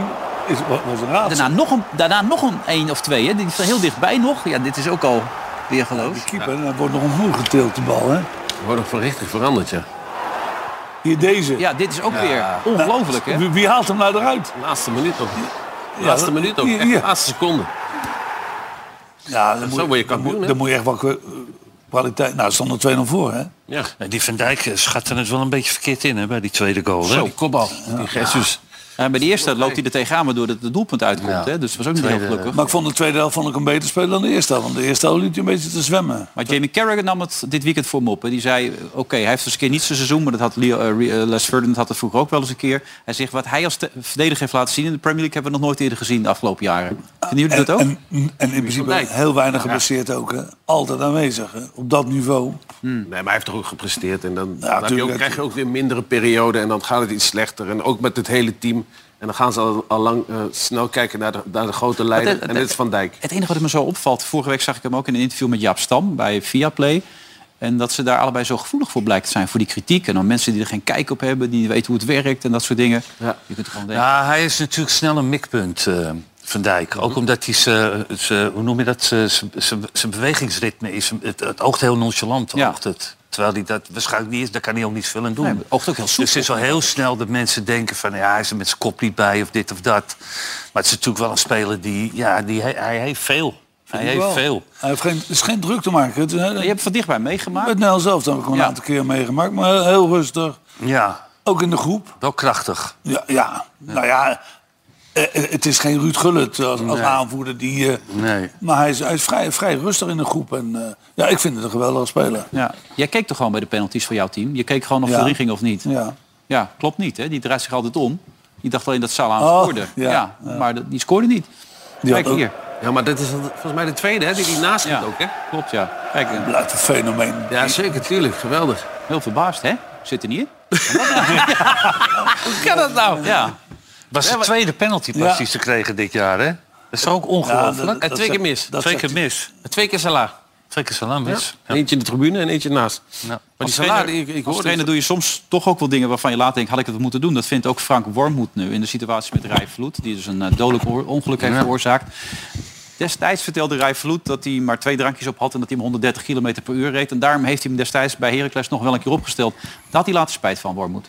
S2: is, was was een raadsel.
S1: Daarna nog een, daarna nog een, één of twee, hè? Die staan heel dichtbij nog. Ja, dit is ook al weer geloof.
S2: De keeper, en dan wordt nog omhoog getild de bal. Hè?
S4: Wordt ook van richting veranderd, ja.
S2: Hier deze.
S1: Ja, dit is ook weer ongelooflijk, hè?
S2: Wie, wie haalt hem nou eruit?
S4: Laatste minuut ook.
S2: Ja,
S4: Laatste
S2: dat-
S4: minuut ook.
S2: hier,
S4: Echt
S2: hier.
S4: laatste seconde.
S2: Ja, dan
S4: Zo word je kampioen,
S2: dan moet-
S4: hè?
S2: Dan moet je echt wel kwa- kwaliteit... Nou, stond er 2-0 voor, hè?
S4: Ja.
S3: En Die Van Dijk eh, schatte het wel een beetje verkeerd in hè, bij die tweede goal. Hè?
S4: Zo,
S3: Die-
S4: die kopbal. Die Jesus.
S1: En bij de eerste loopt hij er tegenaan, waardoor het de doelpunt uitkomt. Hè? Dus dat was ook niet heel
S3: Tweede-
S1: gelukkig.
S2: Maar ik vond de tweede helft vond ik een beter speler dan de eerste helft. Want de eerste helft liet hij een beetje te zwemmen.
S1: Maar Jamie Carragher nam het dit weekend voor me op. En die zei, oké, hij heeft dus een keer niet zijn seizoen... maar dat had Leo, eh, Re- eh, Les Ferdinand had het vroeger ook wel eens een keer. Hij zegt, wat hij als te- verdediger heeft laten zien in de Premier League... hebben we nog nooit eerder gezien de afgelopen jaren.
S3: Ah,
S1: Vinden
S2: En,
S1: jullie dat ook?
S2: en, en in principe
S4: Dijk.
S2: heel weinig geblesseerd ook. Hè? Altijd aanwezig, hè? Op dat niveau.
S4: Nee, maar hij heeft toch ook gepresteerd. En dan, dan heb je
S2: tuurlijk,
S4: ook,
S2: ja,
S4: krijg je ook weer mindere periode. En dan gaat het iets slechter. En ook met het hele team. En dan gaan ze al, al lang eh, snel kijken naar de, naar de grote leider.
S1: het-
S4: En dit is Van Dijk.
S1: Het enige wat me zo opvalt... vorige week zag ik hem ook in een interview met Jaap Stam bij Viaplay... En dat ze daar allebei zo gevoelig voor blijkt te zijn. Voor die kritiek. En dan mensen die er geen kijk op hebben. Die niet weten hoe het werkt en dat soort dingen. Je kunt er gewoon denken.
S3: Ja, hij is natuurlijk snel een mikpunt, eh, Van Dijk. Ook omdat hij zijn, zijn- hoe noem je dat, zijn- zijn zijn bewegingsritme is. Het, het oogt heel nonchalant,
S1: Ja.
S3: oogt het. Terwijl hij dat waarschijnlijk niet is, daar kan hij ook niet veel aan doen.
S1: Nee, maar het oogt ook heel soepel.
S3: Dus het is wel heel snel dat mensen denken van, ja, hij is er met zijn kop niet bij of dit of dat. Maar het is natuurlijk wel een speler die, ja, die, hij, hij heeft veel. Hij
S2: ik
S3: heeft
S2: wel.
S3: veel.
S2: Hij heeft geen, het is geen druk te maken. Het is een hele-
S1: Je hebt van dichtbij meegemaakt.
S2: Met Nel zelf heb ik hem een
S1: Ja.
S2: aantal keer meegemaakt. Maar heel rustig.
S3: Ja,
S2: Ook in de groep.
S3: wel krachtig.
S2: Ja, ja. nou ja... eh, eh, Het is geen Ruud Gullit als, als aanvoerder die... eh,
S3: Nee.
S2: Maar hij is, hij is vrij, vrij rustig in de groep. En eh, ja, ik vind het een geweldige speler.
S1: Ja. Jij keek toch gewoon bij de penalties van jouw team? Je keek gewoon of
S2: Ja.
S1: het erin ging of niet?
S2: Ja.
S1: Ja, klopt niet. Hè? Die draait zich altijd om. Die dacht alleen dat Salah
S2: Oh,
S1: scoorde. Ja,
S2: ja,
S1: maar dat- die scoorde niet.
S2: Die
S1: Kijk
S2: had ook-
S1: hier.
S4: Ja, maar dit is volgens mij de tweede, hè? Die, die naast
S1: Ja.
S4: het ook, hè?
S1: Klopt, ja. Kijk, eh,
S2: Blijft een fenomeen.
S4: Ja, zeker. Tuurlijk. Geweldig.
S1: heel verbaasd, hè? Zit er niet in? Hoe kan dat nou? Ja.
S3: was de tweede penalty pas
S2: Ja.
S3: die ze kregen dit jaar, hè? Dat is toch ook ongelooflijk?
S4: En twee keer mis.
S2: dat
S3: Twee
S2: zegt-
S3: keer mis.
S4: Twee keer Salah.
S3: Twee keer salamis. Ja.
S4: Eentje in de tribune en eentje naast.
S3: Ja.
S4: Maar
S1: Als
S4: die
S1: trainer,
S4: Salah, die- ik, ik
S1: als
S4: hoorde...
S1: trainer doe je soms toch ook wel dingen waarvan je later denkt... had ik het moeten doen. Dat vindt ook Frank Wormhoed nu in de situatie met Rijf Vloed. Die dus een eh, dodelijk oor- ongeluk heeft
S3: Ja.
S1: veroorzaakt. Destijds vertelde Rijf Vloed dat hij maar twee drankjes op had... en dat hij hem 130 km per uur reed. En daarom heeft hij hem destijds bij Heracles nog wel een keer opgesteld. Daar had hij later spijt van, Wormhoed.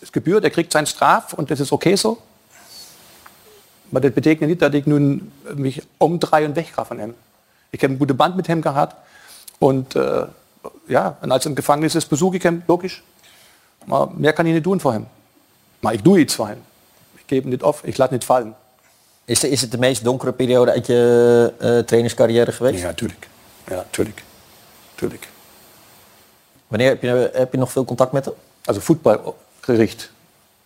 S17: es gebührt, er kriegt seine Straf und das ist okay so. Aber das bedeutet nicht, dass ich nun mich umdrehe und weggehe von ihm. Ich habe einen guten Band mit ihm gehabt. Und äh, ja, und als er im Gefängnis ist, besuche ich ihn, logisch. Aber mehr kann ich nicht tun vor ihm. Aber ich tue es vor ihm. Ich gebe ihn nicht auf, ich lasse ihn nicht fallen.
S18: Is, is het de meest donkere periode uit je eh, trainerscarrière geweest?
S17: Ja, natuurlijk. Ja, natuurlijk. Natuurlijk.
S18: Wanneer heb je, heb je nog veel contact met hem?
S17: Also Fußballgericht.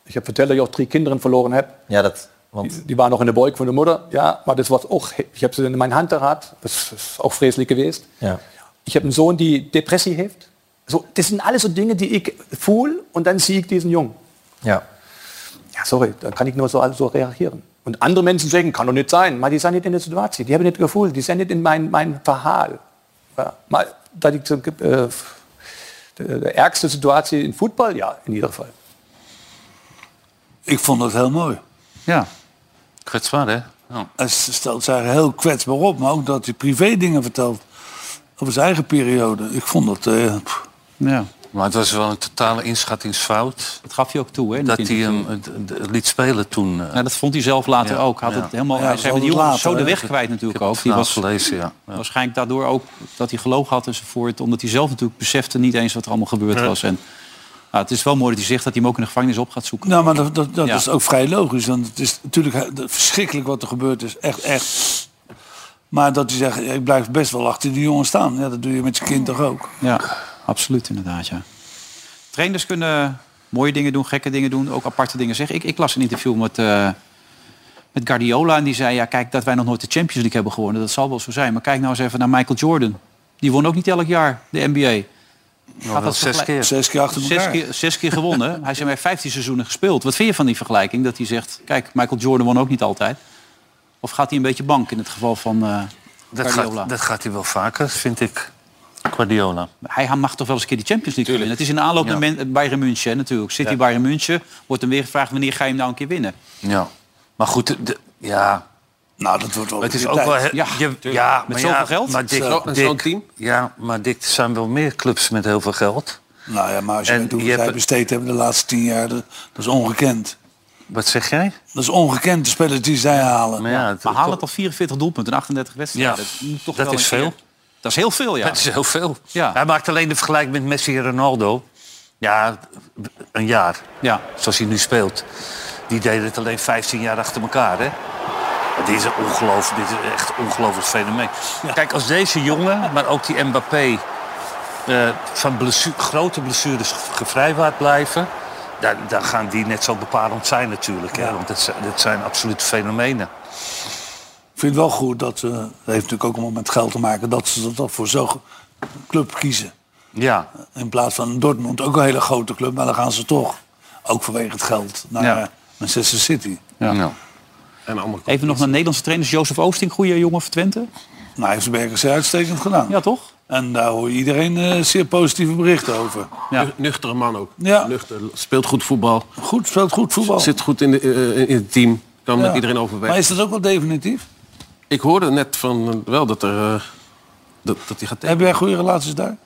S17: Ich habe vertellt, dass ich auch drei Kinder verloren habe.
S18: Ja, dat...
S17: Die, die waren noch in der Beug von der Mutter. Ja, aber das war auch, ich habe sie in meinen Hand gehabt. Das ist auch fräslich gewesen.
S18: Ja.
S17: Ich habe einen Sohn, die Depressie hilft. So, das sind alles so Dinge, die ich fühle und dann sehe ich diesen Jungen.
S18: ja.
S17: Ja, sorry, dann kann ich nur so, so reagieren. Und andere Menschen sagen, kann doch nicht sein. Mal, die sind nicht in der Situation, die haben nicht gefühlt, die sind nicht in mein, mein Verhaal. Ja, mal, da die so, äh, de, de ärgste Situatie in Fußball, ja, in ieder Fall.
S2: Ik vond dat heel mooi.
S3: Ja. Kwetsbaar, hè? Ja.
S2: Hij stelt zich heel kwetsbaar op, maar ook dat hij privé dingen vertelt. Over zijn eigen periode. Ik vond dat... eh, pff.
S3: Ja. Maar het was wel een totale inschattingsfout.
S1: Dat gaf hij ook toe, hè?
S3: Dat hij hem eh, d- d- liet spelen toen. eh.
S1: Ja, dat vond hij zelf later
S3: Ja,
S1: ook. Had
S3: ja.
S1: het helemaal,
S3: Ja,
S1: hij
S3: dat
S1: zei,
S3: was
S1: die jongen
S3: later,
S1: was zo de
S3: hè.
S1: weg kwijt natuurlijk ook. Die
S3: vanavond
S1: was
S3: gelezen, ja.
S1: waarschijnlijk daardoor ook dat hij gelogen had enzovoort. Omdat hij zelf natuurlijk besefte niet eens wat er allemaal gebeurd
S2: Nee.
S1: was. En nou, het is wel mooi dat hij zegt dat hij hem ook in de gevangenis op gaat zoeken.
S2: Nou, maar dat, dat, dat
S1: Ja.
S2: is ook vrij logisch. Want het is natuurlijk he- dat- verschrikkelijk wat er gebeurd is. Echt, echt. Maar dat hij zegt, ja, ik blijf best wel achter die jongen staan. Ja, dat doe je met je kind toch ook.
S1: Ja, absoluut inderdaad, ja. Trainers kunnen mooie dingen doen, gekke dingen doen, ook aparte dingen zeggen. Ik, ik las een interview met, eh, met Guardiola en die zei, ja kijk, dat wij nog nooit de Champions League hebben gewonnen, dat zal wel zo zijn. Maar kijk nou eens even naar Michael Jordan. Die won ook niet elk jaar de NBA.
S3: wel
S1: Gaat dat
S3: zes
S1: vergelijk-
S3: keer. Zes
S2: keer achter
S1: Zes
S2: elkaar.
S1: keer, zes keer gewonnen. Hij zei, hij heeft 15 seizoenen gespeeld. Wat vind je van die vergelijking? Dat hij zegt, kijk, Michael Jordan won ook niet altijd. Of gaat hij een beetje bank in het geval van eh
S3: Dat,
S1: Guardiola?
S3: gaat, dat gaat hij wel vaker, vind ik. Guardiola.
S1: Hij mag toch wel eens een keer die Champions League winnen. Het is in de aanloop
S3: Ja.
S1: naar Men- eh, Bayern München hè, natuurlijk. City
S3: Ja.
S1: Bayern München wordt hem weer gevraagd wanneer ga je hem nou een keer winnen.
S3: Ja. Maar goed, de- de- ja.
S2: Nou, dat wordt wel
S3: Maar het is
S2: weer
S3: ook
S2: tijd.
S3: wel... he-
S1: Ja,
S3: je-
S1: tuurlijk.
S3: ja,
S1: Met
S3: maar
S1: zoveel
S3: ja,
S1: geld?
S3: Maar Dick,
S1: Zo-
S3: Dick-
S1: zo'n team?
S3: Ja, maar Dick, er zijn wel meer clubs met heel veel geld.
S2: Nou ja, maar als je
S3: En
S2: weet hoe
S3: je hebt-
S2: zij besteed hebben de laatste tien jaar, dat, dat is ongekend.
S3: Wat zeg jij?
S2: Dat is ongekend, de spelers die zij halen.
S3: Maar, ja, het-
S1: Maar halen al 44 doelpunten in 38 wedstrijden.
S3: Ja,
S1: moet
S3: dat
S1: wel
S3: is
S1: een keer-
S3: veel.
S1: Dat is heel veel, ja.
S3: Dat is heel veel.
S1: Ja.
S3: Hij maakt alleen de vergelijking met Messi en Ronaldo. Ja, een jaar.
S1: Ja.
S3: Zoals hij nu speelt. Die deden het alleen 15 jaar achter elkaar, hè? Maar Dit is een ongeloof, dit is echt een ongelooflijk fenomeen. Kijk, als deze jongen, maar ook die Mbappé... eh, van blessu- grote blessures ge- gevrijwaard blijven... Dan, dan gaan die net zo bepalend zijn natuurlijk. Hè? Want dat zijn, dat zijn absolute fenomenen.
S2: Ik vind het wel goed dat ze, dat heeft natuurlijk ook allemaal met geld te maken, dat ze dat voor zo'n club kiezen.
S3: Ja.
S2: In plaats van Dortmund, ook een hele grote club, maar dan gaan ze toch, ook vanwege het geld, naar
S1: Ja.
S2: eh, Manchester City.
S3: Ja.
S4: En allemaal
S1: Even nog naar Nederlandse trainers. Jozef Oosting, goede jongen van Twente.
S2: Nou, heeft Bergers uitstekend gedaan.
S1: Ja, toch?
S2: En daar hoor je iedereen eh, zeer positieve berichten over.
S4: Nu- Nuchtere man ook.
S2: Ja.
S4: Nuchter, speelt goed voetbal.
S2: Goed, speelt goed voetbal.
S4: Zit goed in, de, eh, in het team. Kan
S2: Ja.
S4: met iedereen overweg.
S2: Maar is dat ook wel definitief?
S4: Ik hoorde net van eh, wel dat er... eh, dat, dat hij gaat
S2: Heb jij goede relaties daar?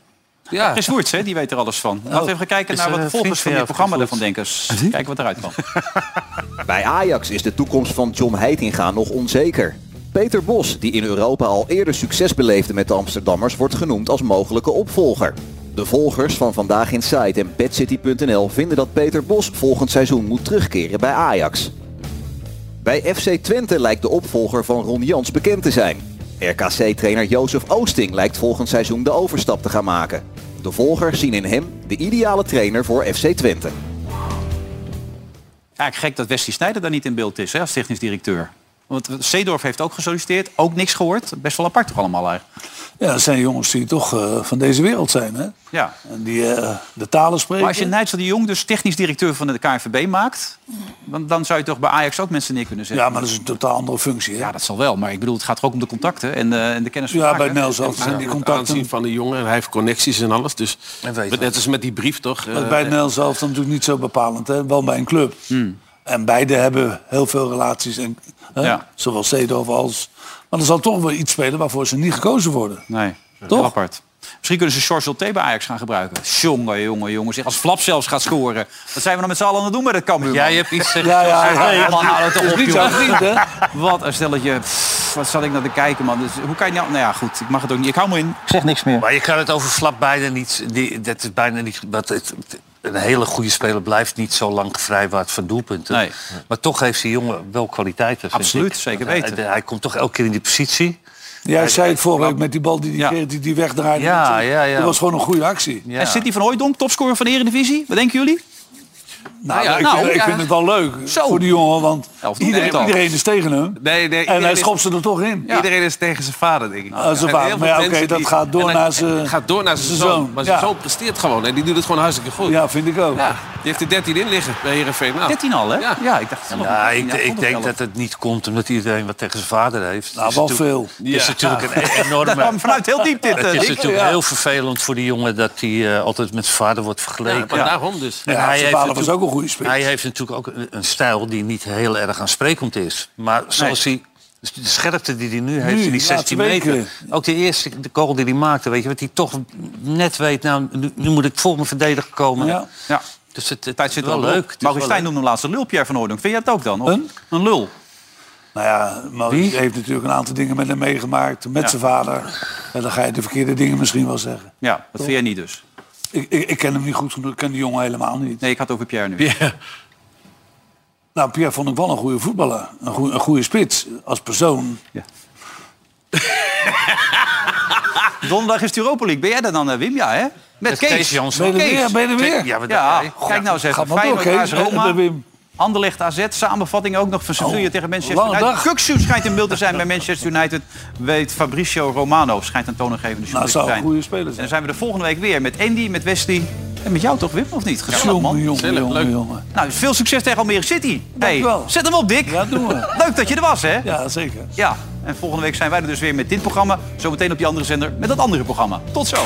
S4: Ja.
S1: Chris Woerts, hè, die weet er alles van. Laten we even kijken
S3: Is,
S1: naar wat
S3: eh,
S1: de volgers
S3: vriend
S1: van
S3: van
S1: dit
S3: jou,
S1: programma
S3: Chris
S1: ervan denken. Kijken wat eruit kan.
S19: Bij Ajax is de toekomst van John Heitinga nog onzeker. Peter Bos, die in Europa al eerder succes beleefde met de Amsterdammers, wordt genoemd als mogelijke opvolger. De volgers van Vandaag Inside en BadCity.nl vinden dat Peter Bos volgend seizoen moet terugkeren bij Ajax. Bij FC Twente lijkt de opvolger van Ron Jans bekend te zijn. RKC-trainer Jozef Oosting lijkt volgend seizoen de overstap te gaan maken. De volgers zien in hem de ideale trainer voor FC Twente.
S1: Ja, gek dat Wesley Snijder daar niet in beeld is hè, als technisch directeur. Want Seedorf heeft ook gesolliciteerd, ook niks gehoord. Best wel apart toch allemaal eigenlijk.
S2: Ja, dat zijn jongens die toch eh, van deze wereld zijn, hè?
S1: Ja.
S2: En die eh, de talen spreken.
S1: Maar als je Nijtsel de Jong dus technisch directeur van de KNVB maakt... dan, dan zou je toch bij Ajax ook mensen neer kunnen zetten.
S2: Ja, maar dat is een totaal andere functie, hè? Dus
S1: Ja, dat zal wel. Maar ik bedoel, het gaat toch ook om de contacten en, eh, en de kennis van
S2: Ja,
S1: zaken?
S2: bij Nelson zijn die
S4: Met
S2: contacten.
S4: aanzien van de jongen. En hij heeft connecties en alles. Dus net als met die brief toch.
S2: Maar
S4: eh,
S2: bij Nel zelf dan natuurlijk niet zo bepalend, hè? Wel bij een club.
S1: Hmm.
S2: En beide hebben heel veel relaties. En, hè?
S1: Ja.
S2: Zowel Seedorf als... Maar er zal toch wel iets spelen waarvoor ze niet gekozen worden.
S1: Nee,
S2: Toch?
S1: toch? apart. Misschien kunnen ze George T bij Ajax gaan gebruiken. Jongen, jongen, jongen. Zeg, als Flap zelfs gaat scoren. Wat zijn we dan met z'n allen aan het doen bij dat Cambuur?
S3: Jij
S1: man?
S3: hebt iets eh, tegen
S2: Ja, ja, ja.
S1: Hey, man, hou dat
S2: Het
S1: toch
S2: is
S1: op,
S2: niet zo'n
S1: jongen.
S2: vriend, hè?
S1: Wat een stelletje. Pff, wat zat ik naar te kijken, man. Dus, hoe kan je nou... Nou ja, goed. Ik mag het ook niet. Ik hou me in.
S3: zeg niks meer. Maar je kan het over Flap bijna niet... Die, dat is bijna niet... Wat, het, het- een hele goede speler blijft niet zo lang vrijwaard van doelpunten.
S1: Nee.
S3: Maar toch heeft die jongen wel kwaliteiten. vind
S1: Absoluut,
S3: ik.
S1: zeker
S3: Want hij-
S1: weten.
S3: Hij, komt toch elke keer in die positie.
S2: Jij zei het vorige week met die bal die die, keer die, die wegdraaide.
S3: Ja, ja, ja.
S2: Dat was gewoon een goede actie. Nou,
S1: En City van Hooijdonk, topscorer van de Eredivisie. Wat denken jullie?
S2: Nou,
S4: ja,
S2: ik,
S4: nou,
S2: vind, ik
S4: ja.
S2: vind het wel leuk voor die jongen, want
S4: Elftal
S2: iedereen,
S4: elftal.
S2: iedereen is tegen hem.
S4: Nee, nee,
S2: en hij
S4: iedereen-
S2: schopt ze er toch in.
S4: Iedereen is tegen zijn vader, denk ik.
S2: Ah, zijn
S4: En
S2: vader.
S4: heel veel
S2: Maar ja,
S4: mensen
S2: oké, dat
S4: die-
S2: gaat door
S4: en
S2: naar
S4: dat-
S2: zijn-
S4: het gaat door naar zijn,
S2: zijn
S4: zoon.
S2: zoon,
S4: Maar zijn
S2: ja.
S4: zoon presteert gewoon. En die doet het gewoon hartstikke goed.
S2: Ja, vind ik ook.
S4: Ja, die heeft er 13 in liggen bij Heerenveen. Nou,
S1: 13 al, hè? Ja, ik dacht... elf.
S3: Ja, ik,
S1: Ja,
S3: ik
S1: vond
S3: denk
S1: elf.
S3: dat het niet komt omdat iedereen wat tegen zijn vader heeft.
S2: Nou,
S3: Het is
S2: wel
S3: natuurlijk-
S2: veel.
S3: Het is
S2: Ja.
S3: natuurlijk een e-
S2: Ja.
S3: enorme...
S1: Dat kwam vanuit heel diep dit, eh,
S3: Het is
S1: Dick.
S3: natuurlijk
S1: Ja.
S3: heel vervelend voor die jongen dat hij eh, altijd met zijn vader wordt vergeleken.
S4: Ja, maar daarom dus.
S3: En
S4: Ja,
S3: hij
S4: zijn
S3: heeft
S4: vader was
S3: natuurlijk-
S4: ook een goede spits.
S3: Hij heeft natuurlijk ook een, een stijl die niet heel erg aansprekend is. Maar zoals hij... dus De scherpte die hij nu heeft
S4: Nu,
S3: in die
S4: laatste
S3: 16 meter.
S4: weken.
S3: Ook de eerste de goal die hij maakte, weet je, wat hij toch net weet, nou, nu, nu moet ik voor mijn verdediger komen.
S1: Ja. Ja.
S3: Dus het, het
S1: Tijd
S3: is
S1: zit
S3: wel leuk. Het is wel
S1: Mauristijn
S3: leuk.
S1: noemde hem laatst een lul, Pierre van Hooydonk. Vind jij het ook dan? Of een? lul.
S2: Nou ja, Maurice heeft natuurlijk een aantal dingen met hem meegemaakt, met
S1: Ja.
S2: zijn vader. En dan ga je de verkeerde dingen misschien wel zeggen.
S1: Ja, dat vind jij niet dus.
S2: Ik, ik, ik ken hem niet goed genoeg, ik ken die jongen helemaal niet.
S1: Nee, ik had het over Pierre nu.
S2: Nou, Pierre vond ik wel een goede voetballer. Een goede, een goede spits als persoon.
S1: Donderdag is de Europa League. Ben jij dat dan, eh, Wim? Ja, hè? Met
S3: Met
S1: Kees.
S3: Kees Jansson.
S2: Ben je er weer? Ben je er weer?
S1: Ja,
S3: Ja, wat dacht jij?
S1: kijk nou eens
S2: Ga maar
S1: even.
S2: door,
S1: Feyenoord,
S2: Kees.
S1: AS Roma.
S2: Eh, Wim. Oh,
S1: Anderlecht AZ, samenvatting ook nog van Sevilla tegen Manchester
S2: lange
S1: United.
S2: dag.
S1: Kuksu schijnt in beeld te zijn bij Manchester United. Weet Fabricio Romano, schijnt een tongevende
S2: Nou,
S1: journalist te
S2: zou een
S1: zijn.
S2: goede speler
S1: En
S2: zijn.
S1: dan zijn we de volgende week weer met Andy, met Wesley en met jou toch, Wim, of niet? Gezellig, man.
S2: jongen, jongen,
S1: Gezellig,
S2: jongen,
S1: leuk.
S2: jongen.
S1: Nou, veel succes tegen Almere City. Hey,
S2: Dankjewel.
S1: zet hem op, Dick.
S2: Ja, doen we.
S1: Leuk dat je er was, hè?
S2: Ja, zeker.
S1: Ja, en volgende week zijn wij er dus weer met dit programma. Zometeen op die andere zender met dat andere programma. Tot zo.